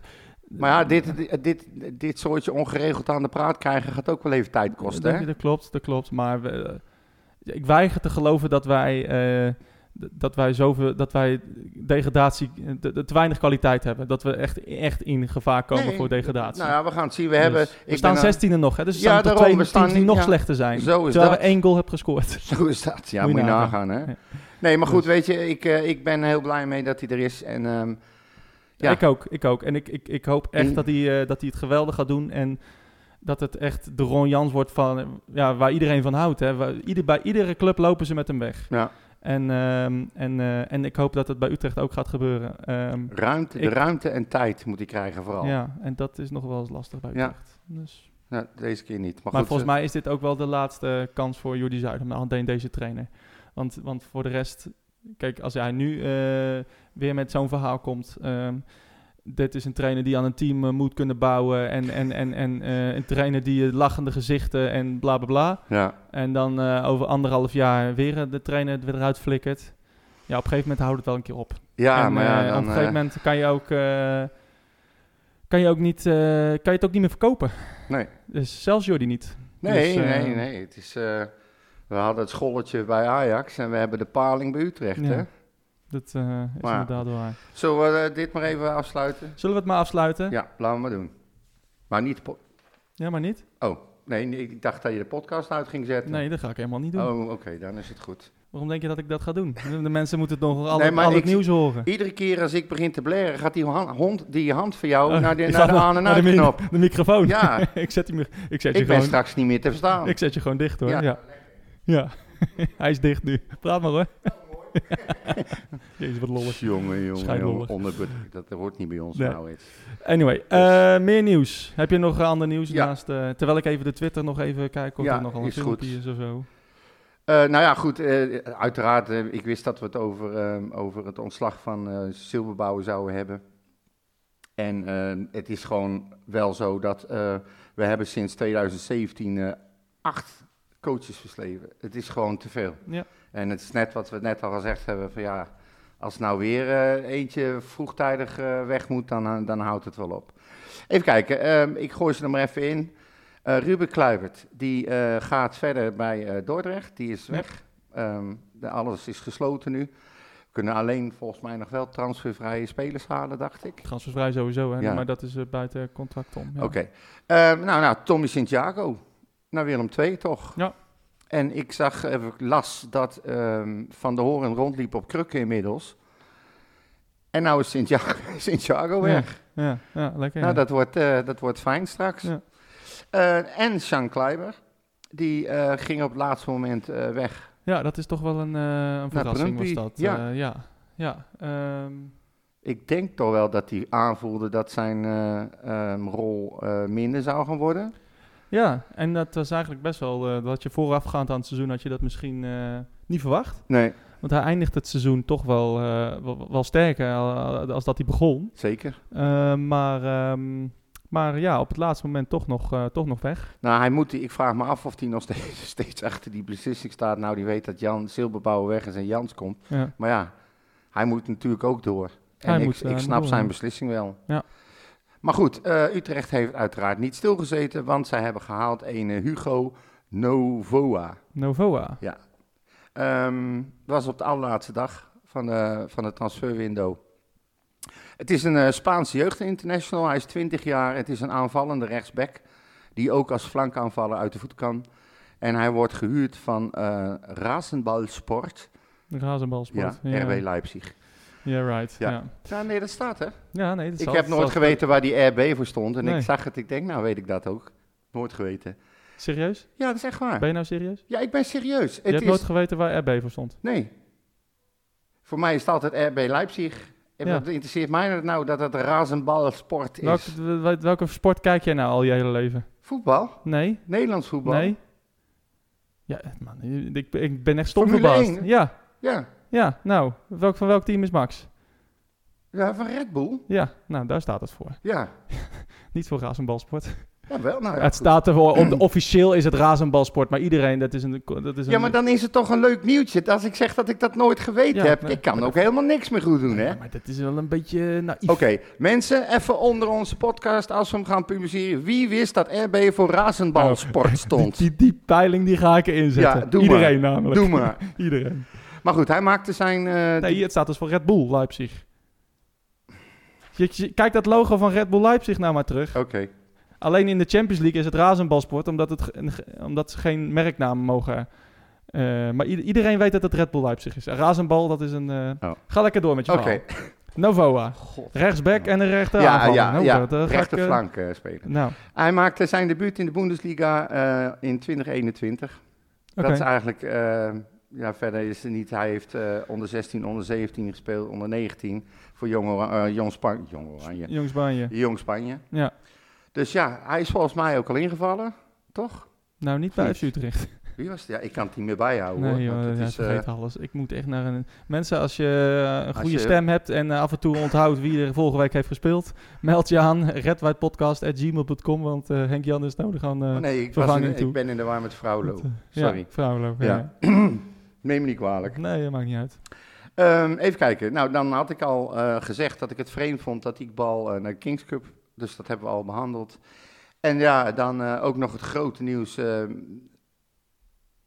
S1: maar ja, dit, dit, dit, dit soortje ongeregeld aan de praat krijgen gaat ook wel even tijd kosten.
S2: dat,
S1: Hè?
S2: dat klopt, dat klopt. Maar we, eh, ik weiger te geloven dat wij, eh, d- dat wij, zoveel, dat wij degradatie, eh, d- d- te weinig kwaliteit hebben. Dat we echt, echt in gevaar komen
S1: Nee,
S2: voor degradatie.
S1: Nou ja, we gaan het zien. We
S2: Dus
S1: hebben...
S2: we
S1: ben
S2: staan
S1: aan-
S2: 16e nog, hè? dus we
S1: Ja,
S2: staan tot
S1: daarom,
S2: twee
S1: we staan
S2: teams die
S1: niet-
S2: nog
S1: ja.
S2: slechter zijn.
S1: Zo is
S2: terwijl
S1: dat.
S2: we één goal hebben gescoord.
S1: Zo is dat. Ja,
S2: Moet
S1: moet
S2: je
S1: je
S2: nagaan.
S1: nagaan,
S2: Ja. Dus-
S1: hè? Nee, maar goed, weet je, ik, eh, ik ben heel blij mee dat hij er is. En ehm, Ja. Mm.
S2: Ik ook, ik ook. En ik, ik, ik hoop echt
S1: En-
S2: dat, hij, eh, dat hij het geweldig gaat doen. En dat het echt de Ron Jans wordt van, eh, ja, waar iedereen van houdt. Hè. Waar, ieder, bij iedere club lopen ze met hem weg.
S1: ja,
S2: En, ehm, en, eh, en ik hoop dat het bij Utrecht ook gaat gebeuren. Ehm,
S1: ruimte, de
S2: Ik-
S1: ruimte en tijd moet hij krijgen vooral. Ja.
S2: ja, en dat is nog wel eens lastig bij
S1: Ja.
S2: Utrecht. Dus,
S1: Nou, deze keer niet. Maar,
S2: maar
S1: goed,
S2: volgens
S1: eh,
S2: mij is dit ook wel de laatste kans voor Jordi Zuidam, alleen deze trainer. Want, want voor de rest, kijk, als hij nu eh, weer met zo'n verhaal komt... ehm, dit is een trainer die aan een team eh, moet kunnen bouwen en, en, en, en eh, een trainer die eh, lachende gezichten en bla bla bla.
S1: Ja,
S2: En dan eh, over anderhalf jaar weer eh, de trainer weer eruit flikkert. Ja, op een gegeven moment houdt het wel een keer op.
S1: ja
S2: En,
S1: maar
S2: eh,
S1: ja,
S2: op
S1: dan,
S2: een gegeven
S1: eh,
S2: moment kan je ook, eh, kan je ook niet, eh, kan je het ook niet meer verkopen.
S1: Nee.
S2: Dus zelfs Jordi niet.
S1: Nee,
S2: dus, eh,
S1: nee, nee. Het is, eh, we hadden het scholletje bij Ajax en we hebben de paling bij Utrecht,
S2: Ja.
S1: hè?
S2: Dat eh, is
S1: Maar Nou ja.
S2: inderdaad waar.
S1: Zullen we eh, dit maar even afsluiten?
S2: Zullen we het maar afsluiten?
S1: Ja, laten we maar doen. Maar niet... de po-
S2: Ja, maar niet?
S1: Oh, nee, nee, ik dacht dat je de podcast uit ging zetten.
S2: Nee, dat ga ik helemaal niet doen.
S1: Oh, oké, dan is het goed.
S2: Waarom denk je dat ik dat ga doen? De mensen moeten het nog al,
S1: Nee, maar
S2: al het
S1: ik-
S2: nieuws horen.
S1: Iedere keer als ik begin te blaren, gaat die han- hond, die hand van jou
S2: Oh,
S1: naar de,
S2: ik
S1: naar
S2: ga
S1: de aan- en
S2: naar de, mi-
S1: uitknop.
S2: de microfoon.
S1: Ja,
S2: ik zet, die, mi- ik zet je
S1: ik ben
S2: gewoon,
S1: straks niet meer te verstaan.
S2: ik zet je gewoon dicht hoor. Ja.
S1: Ja.
S2: ja. Hij is dicht nu. Praat maar hoor. Jezus, wat lollig.
S1: Jongen, jongen,
S2: Scheidlollig.
S1: jongen. Onder, dat hoort niet bij ons
S2: Nee.
S1: nou eens.
S2: Anyway, eh, meer nieuws. Heb je nog eh, ander nieuws
S1: Ja.
S2: naast... eh, terwijl ik even de Twitter nog even kijk of
S1: Ja,
S2: er nog al een
S1: is goed.
S2: filmpje is of zo.
S1: Eh, Eh, nou ja, goed. eh, uiteraard, eh, ik wist dat we het over, eh, over het ontslag van eh Silberbouwer zouden hebben. En eh, het is gewoon wel zo dat eh, we hebben sinds 2017 eh, acht coaches versleven. Het is gewoon te veel.
S2: Ja.
S1: En het is net wat we net al gezegd hebben van ja, als nou weer eh, eentje vroegtijdig eh, weg moet, dan, eh, dan houdt het wel op. Even kijken, ehm, ik gooi ze er maar even in. Eh, Ruben Kluivert, die eh, gaat verder bij eh, Dordrecht. Die is
S2: Ja.
S1: weg. Ehm, de, alles is gesloten nu. We kunnen alleen volgens mij nog wel transfervrije spelers halen, dacht ik.
S2: Transfervrij sowieso, hè?
S1: Ja.
S2: maar dat is eh, buiten contract om. ja.
S1: Oké. Ehm, nou, nou, Tommy Santiago naar Willem II, toch?
S2: Ja.
S1: En ik zag, eh, ik las dat ehm, Van der Horen rondliep op krukken inmiddels. En nou is Santiago, Santiago
S2: Ja,
S1: weg.
S2: Ja, ja, lekker.
S1: oh, Nou,
S2: ja.
S1: dat wordt, eh, dat wordt fijn straks.
S2: Ja.
S1: Eh, en Sean Kleiber, die eh, ging op het laatste moment eh, weg.
S2: Ja, dat is toch wel een,
S1: Nou,
S2: eh een verrassing was
S1: Brumby,
S2: dat.
S1: ja.
S2: Eh, ja. ja. ehm,
S1: Ik denk toch wel dat hij aanvoelde dat zijn eh, ehm, rol eh, minder zou gaan worden.
S2: ja, en dat was eigenlijk best wel... eh, dat je voorafgaand aan het seizoen had je dat misschien eh, niet verwacht.
S1: Nee,
S2: Want hij eindigt het seizoen toch wel, eh, wel, wel sterker eh, als dat hij begon.
S1: zeker.
S2: Eh, maar, ehm, maar ja, op het laatste moment toch nog, eh, toch nog weg.
S1: Nou, hij moet, ik vraag me af of hij nog steeds, steeds achter die beslissing staat. Nou, die weet dat Jan Silberbouwer weg is en Jans komt.
S2: Ja.
S1: Maar ja, hij moet natuurlijk ook door. En
S2: Hij
S1: ik,
S2: moet, eh,
S1: ik
S2: moet
S1: snap
S2: door,
S1: zijn
S2: ja.
S1: beslissing wel.
S2: Ja.
S1: Maar goed, eh, Utrecht heeft uiteraard niet stilgezeten, want zij hebben gehaald een eh, Hugo Novoa.
S2: Novoa.
S1: Ehm was op de allerlaatste dag van de, van de transferwindow. Het is een eh, Spaanse jeugdinternational. Hij is 20 jaar. Het is een aanvallende rechtsback. Die ook als flankaanvaller uit de voet kan. En hij wordt gehuurd van eh Rasenball Sport. Ja,
S2: Razenbalsport.
S1: RB Leipzig.
S2: Ja, right.
S1: Ja.
S2: Ja, ja.
S1: Ja, nee, dat staat hè.
S2: nee, dat
S1: Ik
S2: zal-
S1: heb nooit
S2: zal-
S1: geweten waar die RB voor stond. En
S2: Nee.
S1: ik zag het. Ik denk, nou weet ik dat ook. Nooit geweten.
S2: Serieus?
S1: Ja, dat is echt waar.
S2: Ben je nou serieus?
S1: Ja, ik ben serieus.
S2: Je
S1: Het
S2: hebt
S1: is...
S2: nooit geweten waar RB voor stond.
S1: Nee. Voor mij is het altijd RB Leipzig. En
S2: Ja.
S1: wat interesseert mij dat nou dat het razenbalsport is?
S2: Welke, wel- welke sport kijk jij nou al je hele leven?
S1: Voetbal?
S2: Nee?
S1: Nederlands voetbal?
S2: Nee? Ja, eh, man, ik, ik ben echt stom
S1: Formule
S2: verbaasd.
S1: 1?
S2: Ja,
S1: Ja.
S2: ja, nou, welk, van welk team is Max?
S1: ja, van Red Bull?
S2: Ja, nou, daar staat het voor.
S1: Ja.
S2: Niet voor razenbalsport.
S1: Ja, wel. Nou, ja,
S2: het
S1: goed.
S2: staat ervoor, op de, officieel is het razenbalsport, maar iedereen, dat is een... Dat is dus een
S1: ja, maar dan is het toch een leuk nieuwtje als ik zeg dat ik dat nooit geweten
S2: Ja,
S1: heb.
S2: nee.
S1: Ik kan ook helemaal niks meer goed doen, hè?
S2: Ja, maar dat is wel een beetje naïef.
S1: Oké, mensen, even onder onze podcast als we hem gaan publiceren. Wie wist dat RB voor
S2: Nou,
S1: razenbalsport stond?
S2: Die, die peiling die ga ik erin zetten.
S1: Ja, doe
S2: iedereen namelijk.
S1: Doe maar.
S2: Iedereen.
S1: Maar goed, hij maakte zijn... eh,
S2: Nee, hier, het staat dus voor Red Bull Leipzig. Je- je- Kijk dat logo van Red Bull Leipzig nou maar terug.
S1: Oké.
S2: Alleen in de Champions League is het razenbalsport, omdat, het, ge- ge- omdat ze geen merknaam mogen. eh, maar ieder- iedereen weet dat het Red Bull Leipzig is. En razenbal, dat is een... eh,
S1: Oh.
S2: Ga lekker door met je
S1: Oké.
S2: verhaal. Novoa. Rechtsback en een rechter
S1: Ja,
S2: aanvaller.
S1: ja,
S2: Nou,
S1: ja.
S2: dat, eh, ga ik, eh,
S1: Rechterflank eh, spelen.
S2: Nou,
S1: Hij maakte zijn debuut in de Bundesliga eh, in 2021.
S2: oké.
S1: Dat is eigenlijk, eh, ja, verder is het niet. Hij heeft eh, onder 16, onder 17 gespeeld, onder 19 voor Jong, Ora- eh, Jong, Span- Jong Oranje.
S2: Jong Spanje.
S1: Jong Spanje.
S2: Ja.
S1: Dus ja, hij is volgens mij ook al ingevallen, toch?
S2: Nou, niet bij
S1: Niet.
S2: FC Utrecht.
S1: Wie was het? Ja, ik kan het niet meer bijhouden.
S2: Nee,
S1: hoor,
S2: joh,
S1: want het
S2: ja,
S1: is, eh,
S2: vergeet alles. Ik moet echt naar een... Mensen, als je eh, een
S1: Als
S2: goede
S1: je-
S2: stem hebt en eh, af en toe onthoudt wie er vorige week heeft gespeeld, meld je aan redwhitepodcast.gmail.com, want eh, Henk Jan is nodig aan... eh,
S1: oh nee, ik, was
S2: vervanging
S1: in- ik
S2: toe.
S1: ben in de war met Vrouwlo.
S2: met, eh, Ja,
S1: Sorry.
S2: vrouwenloop,
S1: Ja.
S2: ja.
S1: Neem me niet kwalijk.
S2: Nee, dat maakt niet uit.
S1: Ehm, even kijken. Nou, dan had ik al eh, gezegd dat ik het vreemd vond dat Iqbal eh, naar de Kings Cup. Dus dat hebben we al behandeld. En ja, dan eh, ook nog het grote nieuws. ehm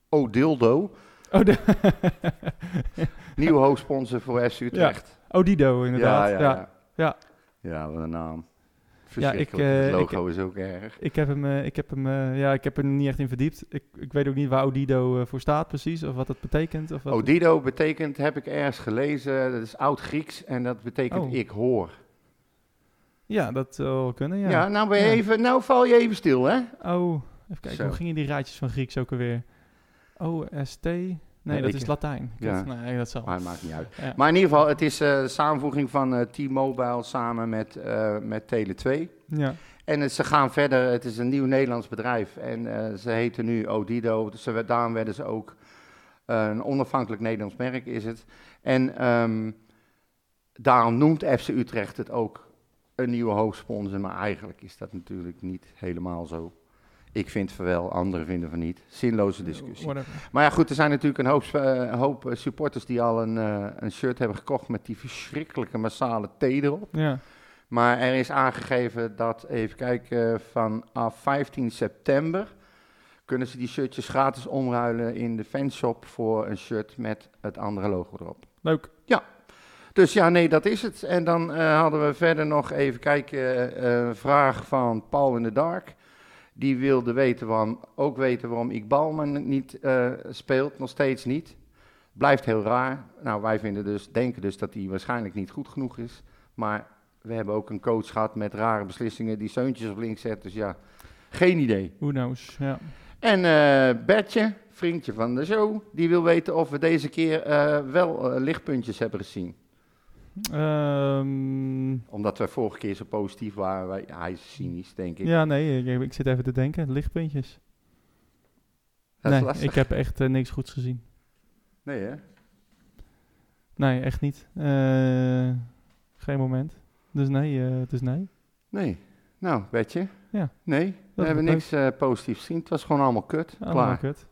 S1: Odildo,
S2: Oh, de,
S1: nieuwe hoofdsponsor voor FC Utrecht.
S2: Odido Oh, inderdaad.
S1: ja.
S2: Ja,
S1: Ja,
S2: Ja.
S1: Ja, wat een naam.
S2: Ja, ik,
S1: Verschrikkelijk.
S2: eh,
S1: het logo
S2: ik-
S1: is ook erg.
S2: Ik heb hem, eh, ik heb hem, eh, ja, ik heb er niet echt in verdiept. Ik, ik weet ook niet waar Odido eh, voor staat precies, of wat het betekent. Of wat
S1: Odido Oh, betekent, heb ik ergens gelezen, dat is oud-Grieks en dat betekent
S2: Oh.
S1: ik hoor.
S2: Ja, dat zou wel kunnen,
S1: Ja,
S2: ja.
S1: nou, ben je
S2: Ja.
S1: Even, nou val je even stil, hè?
S2: Oh, even kijken,
S1: Zo.
S2: hoe gingen die raadjes van Grieks ook alweer? OST? Nee,
S1: Ja,
S2: dat
S1: ik-
S2: is Latijn.
S1: Ja. Ah,
S2: Dat, nee, dat zal.
S1: Maar het Oh, maakt niet uit.
S2: Ja.
S1: Maar in ieder geval, het is eh, de samenvoeging van eh, T-Mobile samen met, eh, met Tele2.
S2: Ja.
S1: En het- ze gaan verder, het eh, is een nieuw Nederlands bedrijf. En eh, ze heten nu Odido, dus ze, daarom werden ze ook Eh, een onafhankelijk Nederlands merk is het. En ehm, daarom noemt FC Utrecht het ook een nieuwe hoofdsponsor. Maar eigenlijk is dat natuurlijk niet helemaal zo. Ik vind van wel, anderen vinden van niet. Zinloze discussie.
S2: Whatever.
S1: Maar ja, goed, er zijn natuurlijk een hoop, sp- eh, een hoop eh, supporters die al een, eh, een shirt hebben gekocht met die verschrikkelijke massale T erop.
S2: Ja.
S1: Maar er is aangegeven dat, even kijken, vanaf 15 september kunnen ze die shirtjes gratis omruilen in de fanshop voor een shirt met het andere logo erop.
S2: Leuk.
S1: Dus ja, nee, dat is het. En dan eh, hadden we verder nog even kijken, eh, een vraag van Paul in the Dark. Die wilde weten waarom, ook weten waarom Iqbal maar niet eh, speelt, nog steeds niet. Blijft heel raar. Nou, wij vinden dus, denken dus dat hij waarschijnlijk niet goed genoeg is. Maar we hebben ook een coach gehad met rare beslissingen die zeuntjes op links zet. Dus ja, geen idee.
S2: Who knows? Ja.
S1: En eh, Bertje, vriendje van de show, die wil weten of we deze keer eh, wel eh, lichtpuntjes hebben gezien
S2: Ehm,
S1: omdat wij vorige keer zo positief waren. Wij, ja, hij is cynisch, denk ik.
S2: ja, nee, ik, ik zit even te denken. Lichtpuntjes.
S1: dat is
S2: nee,
S1: lastig.
S2: ik heb echt eh, niks goeds gezien.
S1: Nee, hè?
S2: Nee, echt niet. Eh, geen moment. Dus nee, eh, dus nee.
S1: Nee. Nou, weet je?
S2: Ja.
S1: Nee, we
S2: is
S1: hebben
S2: leuk.
S1: niks eh, positiefs gezien. Het was gewoon allemaal kut.
S2: Allemaal
S1: Klaar.
S2: kut.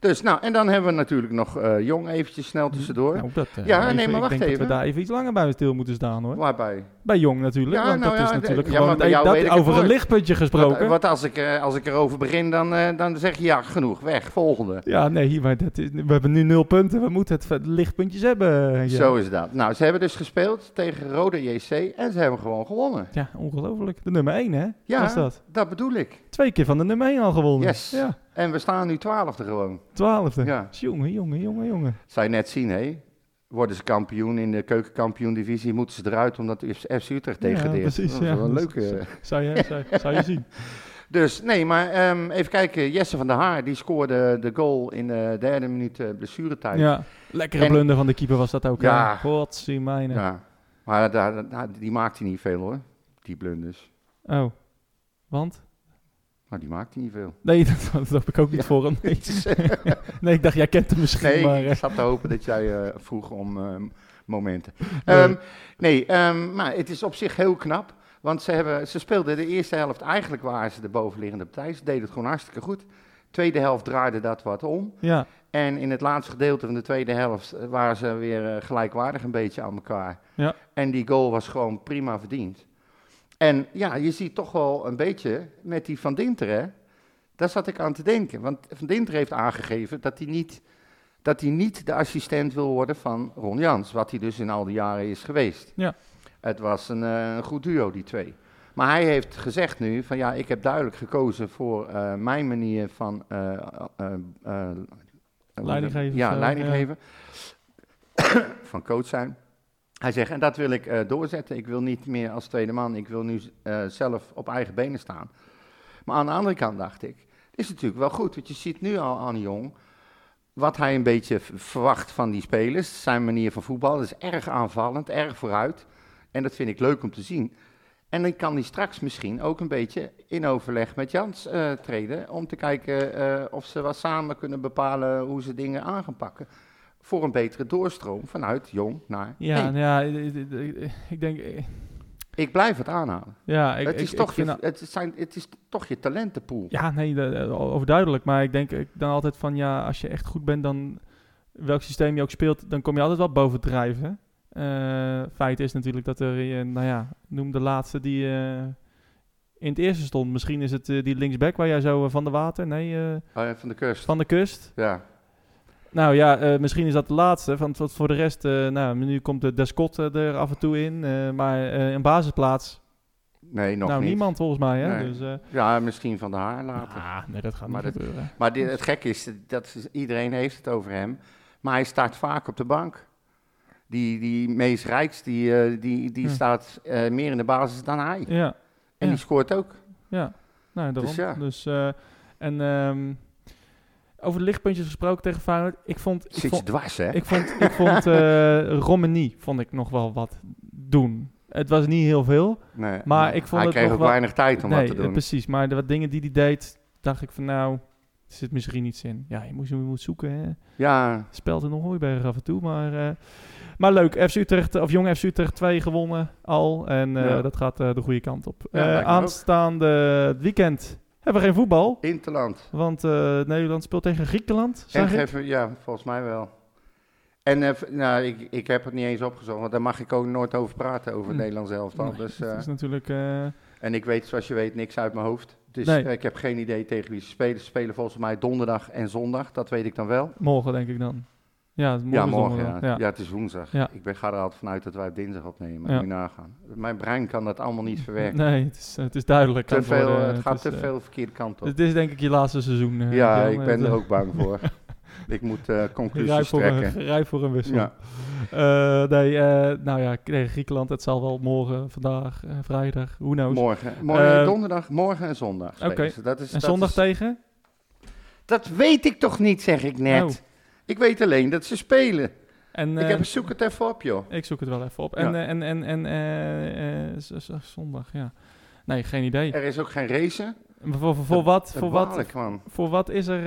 S1: Dus, nou, en dan hebben we natuurlijk nog eh, Jong eventjes snel tussendoor.
S2: Nou, dat, eh,
S1: Ja, nee,
S2: even-
S1: maar wacht
S2: ik denk dat
S1: even.
S2: we daar even iets langer bij stil moeten staan, hoor.
S1: Waarbij?
S2: Bij Jong natuurlijk,
S1: Ja,
S2: want
S1: nou
S2: dat
S1: ja,
S2: is
S1: de-
S2: natuurlijk
S1: ja,
S2: gewoon...
S1: maar bij jou
S2: dat-
S1: weet ik het
S2: over een
S1: nooit.
S2: lichtpuntje gesproken.
S1: Wat, wat als, ik, eh, als ik erover begin, dan, eh, dan zeg je ja, genoeg, weg, volgende.
S2: Ja, nee, hier, maar dat is, we hebben nu nul punten. We moeten het ver- lichtpuntjes hebben. eh, Henk-Jan.
S1: Zo is dat. Nou, ze hebben dus gespeeld tegen Rode JC en ze hebben gewoon gewonnen.
S2: Ja, ongelooflijk. De nummer 1, hè?
S1: Ja.
S2: Was dat?
S1: Dat bedoel ik.
S2: Twee keer van de nummer 1 al gewonnen.
S1: Yes.
S2: Ja,
S1: En we staan nu twaalfde gewoon.
S2: twaalfde.
S1: Ja.
S2: Jongen, jongen, jongen, jongen.
S1: Zou je net zien, hè? Worden ze kampioen in de keukenkampioen-divisie, moeten ze eruit omdat de FC Utrecht degradeert.
S2: Ja, precies.
S1: Dat is
S2: ja.
S1: wel een
S2: Dat is-
S1: leuke. eh,
S2: Zou je, zou, zou je zien.
S1: Dus nee, maar ehm, even kijken. Jesse van der Haar, die scoorde de goal in de derde minuut eh, blessuretijd.
S2: Ja. Lekkere
S1: En-
S2: blunder van de keeper was dat ook.
S1: Ja.
S2: Godsie mijne.
S1: Ja. Maar daar, daar- die maakt hij niet veel, hoor. Die blunders.
S2: Oh. Want?
S1: Maar die maakt hij niet veel.
S2: Nee, dat, dat hoop ik ook niet
S1: Ja.
S2: voor hem. Nee. Nee, ik dacht, jij kent hem misschien,
S1: Nee,
S2: maar... eh,
S1: ik zat te hopen dat jij eh, vroeg om ehm, momenten.
S2: Nee.
S1: Ehm, nee, ehm, maar het is op zich heel knap. Want ze, hebben, ze speelden de eerste helft, eigenlijk waren ze de bovenliggende partij. Ze deden het gewoon hartstikke goed. Tweede helft draaide dat wat om.
S2: ja.
S1: En in het laatste gedeelte van de tweede helft eh, waren ze weer eh, gelijkwaardig een beetje aan elkaar.
S2: Ja.
S1: En die goal was gewoon prima verdiend. En ja, je ziet toch wel een beetje met die Van Dinter, hè? Daar zat ik aan te denken. Want Van Dinter heeft aangegeven dat hij niet, dat hij niet de assistent wil worden van Ron Jans. Wat hij dus in al die jaren is geweest.
S2: Ja.
S1: Het was een eh, een goed duo, die twee. Maar hij heeft gezegd nu van ja, ik heb duidelijk gekozen voor eh, mijn manier van eh, eh, eh,
S2: Leidinggeven,
S1: Ja,
S2: zo,
S1: leidinggeven. van coach zijn. Hij zegt, en dat wil ik eh, doorzetten. Ik wil niet meer als tweede man. Ik wil nu eh, zelf op eigen benen staan. Maar aan de andere kant dacht ik, het is natuurlijk wel goed. Want je ziet nu al aan Jong wat hij een beetje v- verwacht van die spelers. Zijn manier van voetbal dat is erg aanvallend, erg vooruit. En dat vind ik leuk om te zien. En dan kan hij straks misschien ook een beetje in overleg met Jans eh, treden. Om te kijken eh, of ze wat samen kunnen bepalen hoe ze dingen aan gaan pakken. Voor een betere doorstroom vanuit jong naar.
S2: Ja, nou
S1: één.
S2: ja, eh, ik- ik- ik- ik denk... eh,
S1: Ik blijf het aanhalen.
S2: Ja, ik,
S1: het,
S2: ik-
S1: is
S2: ik
S1: toch
S2: vind
S1: je,
S2: dat-
S1: het, zijn, het is toch je talentenpool.
S2: Ja, nee, dat- eh, overduidelijk. Maar ik denk eh, dan altijd van ja, als je echt goed bent, dan welk systeem je ook speelt, dan kom je altijd wel boven drijven. Eh, feit is natuurlijk dat er, eh, nou ja, noem de laatste die eh, in het eerste stond. Misschien is het eh, die linksback waar jij zo eh, van de water, nee, eh,
S1: Oh ja, van de kust.
S2: van de kust.
S1: Ja.
S2: Nou ja, eh, misschien is dat de laatste. Want wat voor de rest, eh, nou, nu komt de Descott eh, er af en toe in. eh, maar eh, een basisplaats,
S1: Nee, nog
S2: nou
S1: niet.
S2: niemand volgens mij. Hè?
S1: Nee.
S2: Dus, eh,
S1: Ja, misschien van de haar later.
S2: ah, nee, dat gaat
S1: Maar
S2: niet
S1: dat-
S2: gebeuren.
S1: Maar dit, het gekke is, dat is- iedereen heeft het over hem. Maar hij staat vaak op de bank. Die, die Mees Rijks, die, eh, die, die
S2: Ja.
S1: staat eh, meer in de basis dan hij. En
S2: Hm. Ja.
S1: die scoort ook.
S2: Ja, nou, daarom. Dus,
S1: Dus ja.
S2: eh, en ehm, over de lichtpuntjes gesproken tegen Feyenoord. Ik vond, ik
S1: Zit je
S2: vond,
S1: dwars, hè?
S2: ik vond, ik vond eh Romani vond ik nog wel wat doen. Het was niet heel veel.
S1: Nee.
S2: maar ik vond
S1: hij
S2: het
S1: kreeg
S2: nog
S1: ook
S2: wel-
S1: weinig tijd om
S2: nee,
S1: wat te
S2: eh,
S1: doen.
S2: precies. Maar de wat dingen die hij deed, dacht ik van nou, Er zit misschien iets in. Ja, je moet, je moet zoeken. Hè?
S1: Ja,
S2: Spelt in een hooiberg af en toe. Maar, eh, maar leuk, FC Utrecht, eh, of jong FC Utrecht 2 gewonnen al. En eh,
S1: Ja.
S2: dat gaat eh, de goede kant op.
S1: Ja,
S2: Eh,
S1: lijkt me ook.
S2: aanstaande weekend hebben we geen voetbal.
S1: Interland.
S2: Want eh, Nederland speelt tegen Griekenland.
S1: En
S2: Zag ik?
S1: geef, ja, volgens mij wel. En eh, v- nou, ik, ik heb het niet eens opgezocht, want daar mag ik ook nooit over praten, over het
S2: Hm.
S1: Nederlands elftal.
S2: Nee,
S1: dus,
S2: dat
S1: eh,
S2: is natuurlijk... eh,
S1: en ik weet, zoals je weet, niks uit mijn hoofd. Dus
S2: Nee.
S1: eh, ik heb geen idee tegen wie ze spelen. Ze spelen volgens mij donderdag en zondag, dat weet ik dan wel.
S2: Morgen denk ik dan. Ja, morgen,
S1: ja,
S2: is
S1: morgen. Ja.
S2: donderdag.
S1: Ja.
S2: Ja.
S1: het is woensdag.
S2: Ja.
S1: Ik ben, ga er altijd vanuit dat wij op dinsdag opnemen.
S2: Ja.
S1: Moet je nagaan. Mijn brein kan dat allemaal niet verwerken.
S2: Nee, het is, het is duidelijk. aan
S1: te veel,
S2: worden.
S1: eh, het gaat
S2: is,
S1: te
S2: eh,
S1: veel verkeerde kant op.
S2: Dit is denk ik je laatste seizoen. eh,
S1: ja,
S2: Jan.
S1: ik
S2: Het,
S1: ben er
S2: eh,
S1: ook bang voor. ik moet eh,
S2: Rijp
S1: conclusies
S2: voor, een,
S1: trekken.
S2: rijp voor een wissel.
S1: Ja.
S2: Eh, nee, eh, nou ja, tegen Griekenland. Het zal wel morgen, vandaag, eh, vrijdag, who knows.
S1: Morgen. morgen
S2: Eh,
S1: donderdag, morgen en zondag. spelen
S2: oké.
S1: ze. Dat is,
S2: en
S1: dat
S2: zondag
S1: is-
S2: tegen?
S1: dat weet ik toch niet, zeg ik net.
S2: Oh.
S1: Ik weet alleen dat ze spelen.
S2: En,
S1: ik
S2: eh,
S1: heb, zoek het even op, joh.
S2: ik zoek het wel even op. En,
S1: Ja.
S2: eh, en, en, en eh, eh, z- z- zondag, ja. Nee, geen idee.
S1: Er is ook geen race.
S2: Maar voor, voor, voor wat, voor, wat,
S1: Eh, Waarlijk, man.
S2: voor wat is er...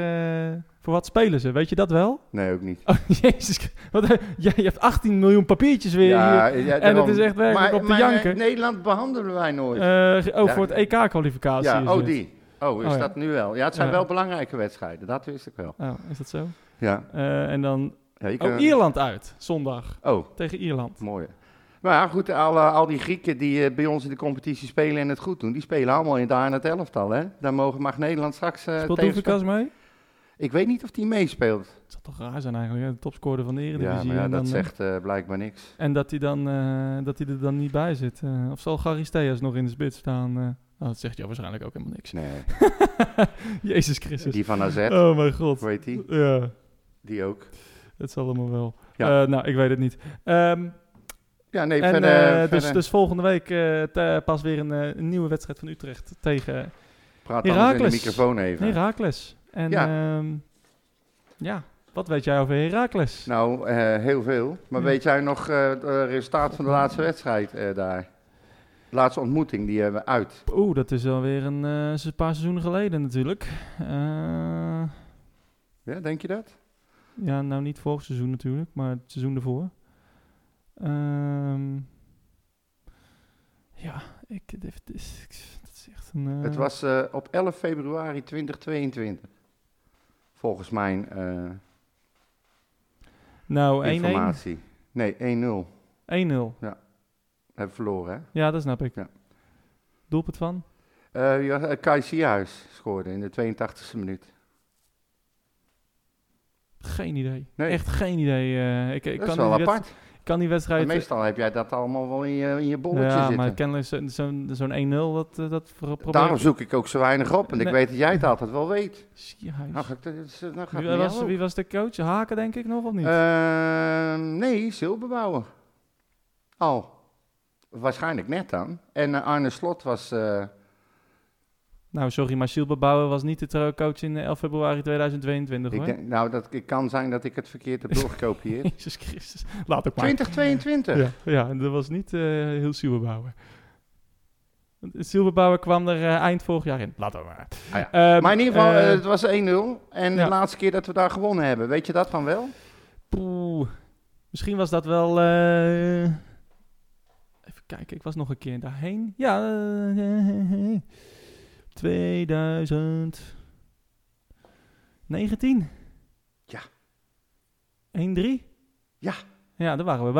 S2: eh, voor wat spelen ze? Weet je dat wel?
S1: Nee, ook niet.
S2: Oh, jezus. Wat, jij, je hebt 18 miljoen papiertjes weer hier.
S1: ja,
S2: En het
S1: daarom.
S2: is echt werkelijk
S1: maar,
S2: op de
S1: maar, eh,
S2: janken.
S1: Nederland behandelen wij nooit.
S2: Eh, oh,
S1: Ja.
S2: voor het EK-kwalificatie.
S1: ja, oh, die. Oh, is
S2: Oh, ja.
S1: dat nu wel? Ja, het zijn
S2: Ja.
S1: wel belangrijke wedstrijden. Dat wist ik wel.
S2: Oh, is dat zo?
S1: Ja.
S2: Eh, en dan...
S1: ja je
S2: Oh,
S1: kan-
S2: Ierland uit. Zondag.
S1: Oh,
S2: Tegen Ierland.
S1: mooi. Maar ja, goed, al, eh, al die Grieken die eh, bij ons in de competitie spelen en het goed doen, die spelen allemaal in daar in het elftal, hè? Daar mogen, mag Nederland straks eh
S2: Speelt
S1: tegenstaan-
S2: Doefikas mee?
S1: Ik weet niet of die meespeelt.
S2: Het zou toch raar zijn eigenlijk, hè? de topscorer van de Eredivisie.
S1: Ja, maar ja,
S2: en,
S1: dat
S2: dan,
S1: zegt eh, blijkbaar niks.
S2: en dat hij dan, eh, dat hij er dan niet bij zit. eh. of zal Garisteas nog in de spits staan? eh? Oh, dat zegt jou waarschijnlijk ook helemaal niks.
S1: Nee,
S2: Jezus Christus.
S1: die van AZ,
S2: Oh mijn god.
S1: weet die?
S2: Ja,
S1: Die ook.
S2: het zal allemaal wel.
S1: Ja.
S2: Eh, nou, ik weet het niet. Ehm,
S1: Ja, nee,
S2: en,
S1: verder...
S2: eh, dus,
S1: verder
S2: dus volgende week eh, te- pas weer een, eh, een nieuwe wedstrijd van Utrecht tegen
S1: praat anders in de
S2: Heracles.
S1: microfoon even.
S2: Heracles. En
S1: Ja.
S2: ja. ja, wat weet jij over Heracles?
S1: Nou, eh, heel veel. Maar
S2: Ja.
S1: weet jij nog eh, het eh, resultaat van de laatste wedstrijd eh, daar? De laatste ontmoeting, die hebben we uit.
S2: Oeh, dat is alweer een, eh, een paar seizoenen geleden natuurlijk. Eh,
S1: Ja, denk je dat?
S2: ja, nou niet vorig seizoen natuurlijk, maar het seizoen ervoor. Ehm, ja, ik, dit is, dat is echt een... eh,
S1: Het was eh, op 11 februari 2022. Volgens mijn eh,
S2: nou, 1-1.
S1: informatie. Nee, 1-0. Hebben
S2: 1-0.
S1: we verloren, hè?
S2: Ja, dat snap ik.
S1: Ja. Eh,
S2: eh, Nou eh,
S1: Nou, Eh. Ehm, eh,
S2: Nou, eh,
S1: nou,
S2: eh, eh, Ehm,
S1: eh,
S2: eh,
S1: Ehm, Dus eh, Dus, Eh, ehm, nou? Oh.
S2: eh, eh, eh, nou eh,
S1: ehm, Ik kan me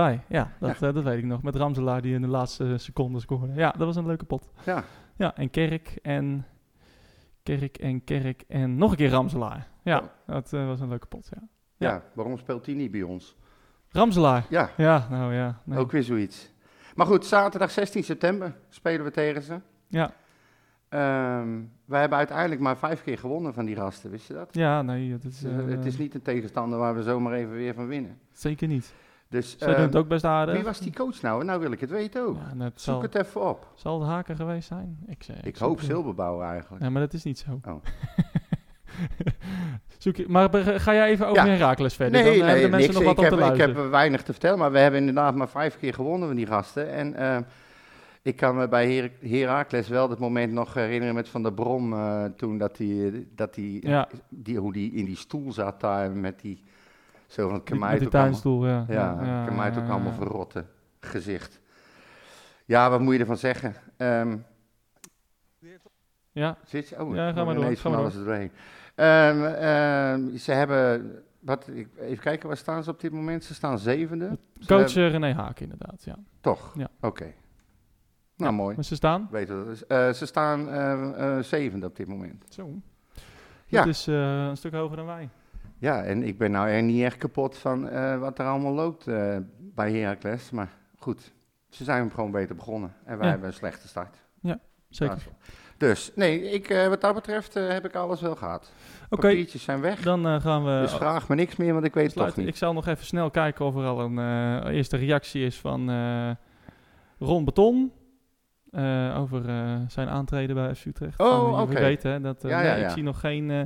S1: bij Her Heracles wel dat moment nog herinneren met Van der Brom eh, toen dat die, dat die,
S2: Ja.
S1: die, hoe die in die stoel zat daar met die, zo van,
S2: Die,
S1: kan mij
S2: met
S1: het
S2: die
S1: ook allemaal-
S2: tuinstoel, ja.
S1: ja, ik kan mij het ook
S2: ja,
S1: allemaal
S2: ja.
S1: verrotten. Gezicht. Ja, wat moet je ervan zeggen? Ehm,
S2: Ja,
S1: zit je? Oh,
S2: Ja,
S1: ik
S2: ga
S1: hoor
S2: maar door,
S1: ineens
S2: ga
S1: van
S2: maar
S1: alles er doorheen. Ehm, ehm, ze hebben, wat, ik, even kijken, waar staan ze op dit moment? Ze staan zevende. Ze
S2: coach
S1: hebben-
S2: eh, René Haak inderdaad, ja.
S1: toch?
S2: Ja.
S1: Oké. Nou, mooi.
S2: Maar ze staan?
S1: Weten we dat is. Eh, ze staan eh, eh, zevende op dit moment.
S2: Zo.
S1: Ja.
S2: Het is eh, een stuk hoger dan wij.
S1: Ja, en ik ben nou er niet echt kapot van eh, wat er allemaal loopt eh, bij Heracles. Maar goed, ze zijn gewoon beter begonnen. En wij
S2: Ja.
S1: hebben een slechte start.
S2: Zeker.
S1: Raadsel. Dus nee, ik, eh, wat dat betreft eh, heb ik alles wel gehad.
S2: Oké,
S1: Papiertjes zijn weg.
S2: dan eh, gaan we...
S1: dus vraag me niks meer, want ik weet het toch
S2: Sluiten.
S1: niet.
S2: Ik zal nog even snel kijken of er al een eh, eerste reactie is van eh, Ron Beton. eh, over eh, zijn aantreden bij FC Utrecht.
S1: Oh,
S2: Van, eh,
S1: oké.
S2: We weten hè, dat... eh,
S1: Ja,
S2: nee,
S1: ja, ja.
S2: Ik zie nog geen, eh,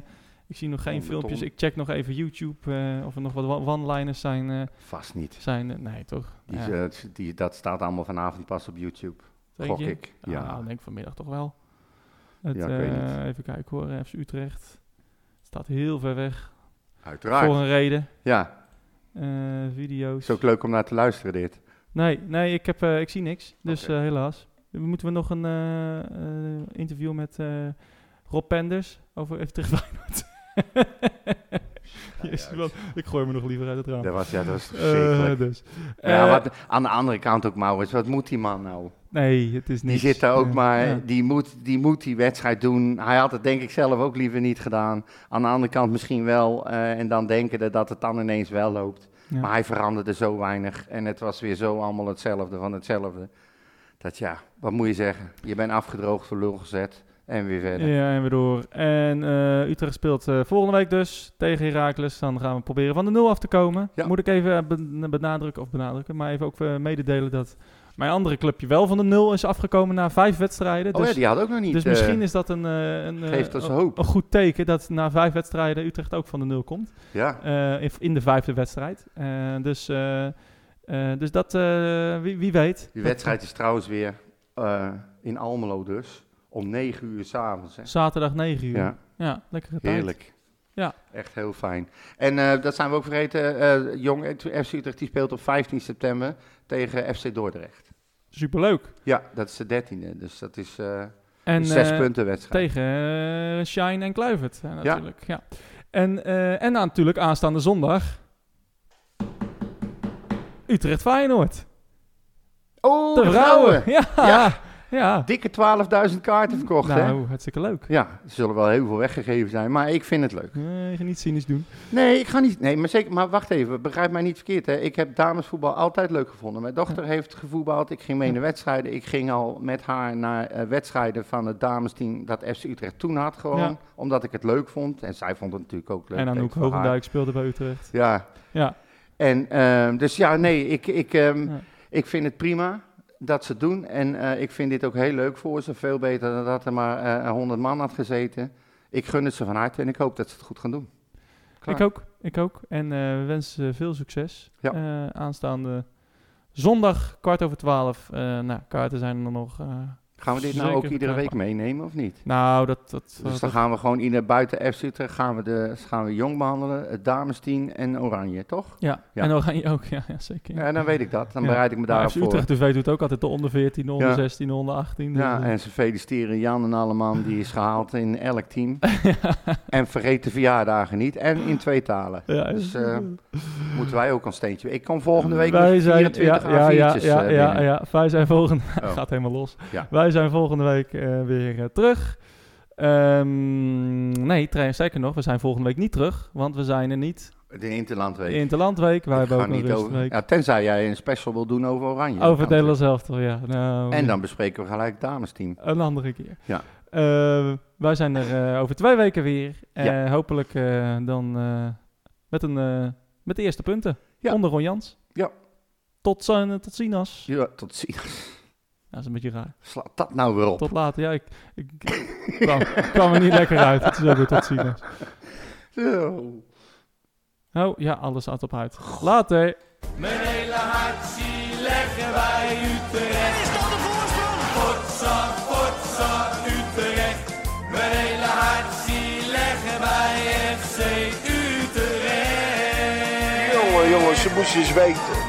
S2: ik zie nog geen
S1: Ron
S2: filmpjes.
S1: Beton.
S2: Ik check nog even YouTube eh, of er nog wat one- one-liners zijn. eh,
S1: Vast niet.
S2: zijn eh, nee, toch?
S1: Die,
S2: Ja,
S1: eh, die, dat staat allemaal vanavond pas op YouTube.
S2: denk
S1: gok
S2: je?
S1: ik. Ja.
S2: Ah, ik denk vanmiddag toch wel. Het,
S1: Ja, ik weet
S2: eh,
S1: niet.
S2: even kijken hoor, FC Utrecht. staat heel ver weg.
S1: Uiteraard.
S2: Voor een reden.
S1: Ja,
S2: Eh, video's.
S1: is ook leuk om naar te luisteren dit.
S2: Nee, nee ik, heb, eh, ik zie niks. Dus
S1: Oké.
S2: eh, helaas. Moeten we nog een eh, eh, interview met eh, Rob Penders over even terug Feyenoord? Jezus, wat- ik gooi me nog liever uit het raam.
S1: Dat was, ja, dat was toch
S2: Eh,
S1: verschrikkelijk.
S2: dus.
S1: Maar ja,
S2: Eh,
S1: wat, aan de andere kant ook, Maurits, wat moet die man nou?
S2: Nee, het is Eh,
S1: Die
S2: niet.
S1: zit daar ook maar, die, moet, die moet die wedstrijd doen. Hij had het denk ik zelf ook liever niet gedaan. Aan de andere kant misschien wel. eh, en dan denken dat- dat het dan ineens wel loopt. Maar hij veranderde zo weinig en het was weer zo allemaal hetzelfde van hetzelfde. Dat ja, wat moet je zeggen? Je bent afgedroogd voor lul gezet en weer verder.
S2: Ja, en weer door. En eh, Utrecht speelt eh, volgende week dus tegen Heracles. Dan gaan we proberen van de nul af te komen.
S1: Ja.
S2: Moet ik even eh, ben- benadrukken, of benadrukken, maar even ook eh, mededelen dat mijn andere clubje wel van de nul is afgekomen na vijf wedstrijden.
S1: oh
S2: dus
S1: ja, die had ook nog niet.
S2: dus
S1: eh,
S2: misschien is dat een, eh, een, eh,
S1: geeft ons
S2: een-
S1: hoop.
S2: een goed teken dat na vijf wedstrijden Utrecht ook van de nul komt.
S1: Ja,
S2: Eh, in- in de vijfde wedstrijd. Eh, dus, eh, eh, dus dat, eh, wie, wie weet.
S1: die wedstrijd is trouwens weer eh, in Almelo dus. Om negen uur s'avonds.
S2: Zaterdag 9 uur. Ja,
S1: Ja,
S2: lekkere tijd.
S1: heerlijk.
S2: Ja.
S1: Echt heel fijn. En eh, dat zijn we ook vergeten. eh, Jong FC Utrecht die speelt op 15 september tegen FC Dordrecht.
S2: Superleuk.
S1: Ja, dat is de dertiende. Dus dat is eh,
S2: En,
S1: een zes
S2: eh,
S1: punten wedstrijd.
S2: Tegen eh, Shine en Kluivert eh, natuurlijk. Ja. En, eh, en dan natuurlijk aanstaande zondag. Utrecht Feyenoord.
S1: Oh, de vrouwen.
S2: vrouwen. Ja.
S1: Ja.
S2: ja.
S1: Dikke 12.000 kaarten verkocht, hè?
S2: Nou, hartstikke leuk.
S1: Ja, er zullen wel heel veel weggegeven zijn, maar ik vind het leuk.
S2: Nee, je gaat Eh, niet cynisch doen.
S1: Nee, ik ga niet. Nee, maar zeker. Maar wacht even, begrijp mij niet verkeerd. Hè. Ik heb damesvoetbal altijd leuk gevonden. Mijn dochter heeft gevoetbald. Ik ging mee naar wedstrijden. Ik ging al met haar naar eh, wedstrijden van het damesteam dat FC Utrecht toen had. Gewoon
S2: Ja.
S1: omdat ik het leuk vond. En zij vond het natuurlijk ook leuk.
S2: en dan
S1: Leuk
S2: ook
S1: voor haar.
S2: Hoogendijk speelde bij Utrecht.
S1: Ja.
S2: Ja.
S1: En ehm, dus ja, nee, ik, ik, ehm,
S2: Ja.
S1: ik vind het prima dat ze het doen. En eh, ik vind dit ook heel leuk voor ze. Veel beter dan dat er maar eh 100 man had gezeten. Ik gun het ze van harte en ik hoop dat ze het goed gaan doen. Klaar.
S2: Ik ook. Ik ook. En eh, we wensen eh, veel succes.
S1: Ja.
S2: Eh, aanstaande zondag, kwart over twaalf. Eh, nou, kaarten zijn er nog. eh.
S1: Gaan we dit nou
S2: Zeker
S1: ook iedere week
S2: verkrijgbaar.
S1: meenemen of niet?
S2: nou, dat... dat,
S1: Dus
S2: dat-
S1: dan gaan we gewoon in buiten F zitten, gaan we, de, gaan we jong behandelen, het damesteam en oranje, toch?
S2: ja.
S1: Ja.
S2: en Oranje ook. Ja, ja zeker.
S1: Ja, dan weet ik dat. Dan
S2: Ja.
S1: bereid ik me
S2: Maar
S1: daarop
S2: FC
S1: voor.
S2: Utrecht TV doet ook altijd de onder 14, de onder
S1: Ja.
S2: 16, de onder 18. dus,
S1: Ja,
S2: eh,
S1: en ze feliciteren Jan en alle man die is gehaald in elk team. En vergeet de verjaardagen niet. En in twee talen.
S2: ja,
S1: Dus eh, moeten wij ook een steentje. Ik kom volgende week
S2: wij
S1: met
S2: zijn,
S1: 24
S2: ja, ja, ja,
S1: A4'tjes,
S2: ja,
S1: eh,
S2: ja,
S1: binnen.
S2: ja, wij zijn volgende
S1: Oh.
S2: gaat helemaal los.
S1: Ja.
S2: Wij zijn volgende week eh, weer eh, terug. Ehm, nee, tra- zeker nog, we zijn volgende week niet terug, want we zijn er niet
S1: De Interlandweek.
S2: in de landweek. Wij
S1: Ik
S2: hebben
S1: ga
S2: ook een
S1: niet over,
S2: rustweek.
S1: ja, tenzij jij een special wil doen over Oranje.
S2: Over het
S1: Dan-
S2: Nederlands elftal, ja. Nou,
S1: En dan bespreken we gelijk het damesteam.
S2: Een andere keer.
S1: Ja.
S2: Eh, wij zijn er eh, over twee weken weer. Eh, Hopelijk eh, dan eh, met, een, eh, met de eerste punten.
S1: Ja.
S2: Onder Ron Jans.
S1: Ja.
S2: Tot, zin- tot ziens.
S1: Ja, tot ziens.
S2: dat is een beetje raar.
S1: Slaat dat nou weer op.
S2: Tot later. Ja, ik, ik, ik kwam, kwam er niet lekker uit. Het is ook weer tot ziens.
S1: Zo.
S2: Oh ja, alles staat op uit. Later.
S3: Mijn hele hart zie leggen wij Utrecht. Is dat de voorsprong? Potsa, potsa, Utrecht. Mijn hele hart zie leggen bij FC Utrecht.
S4: Jongen, jongen, ze moest je eens weten.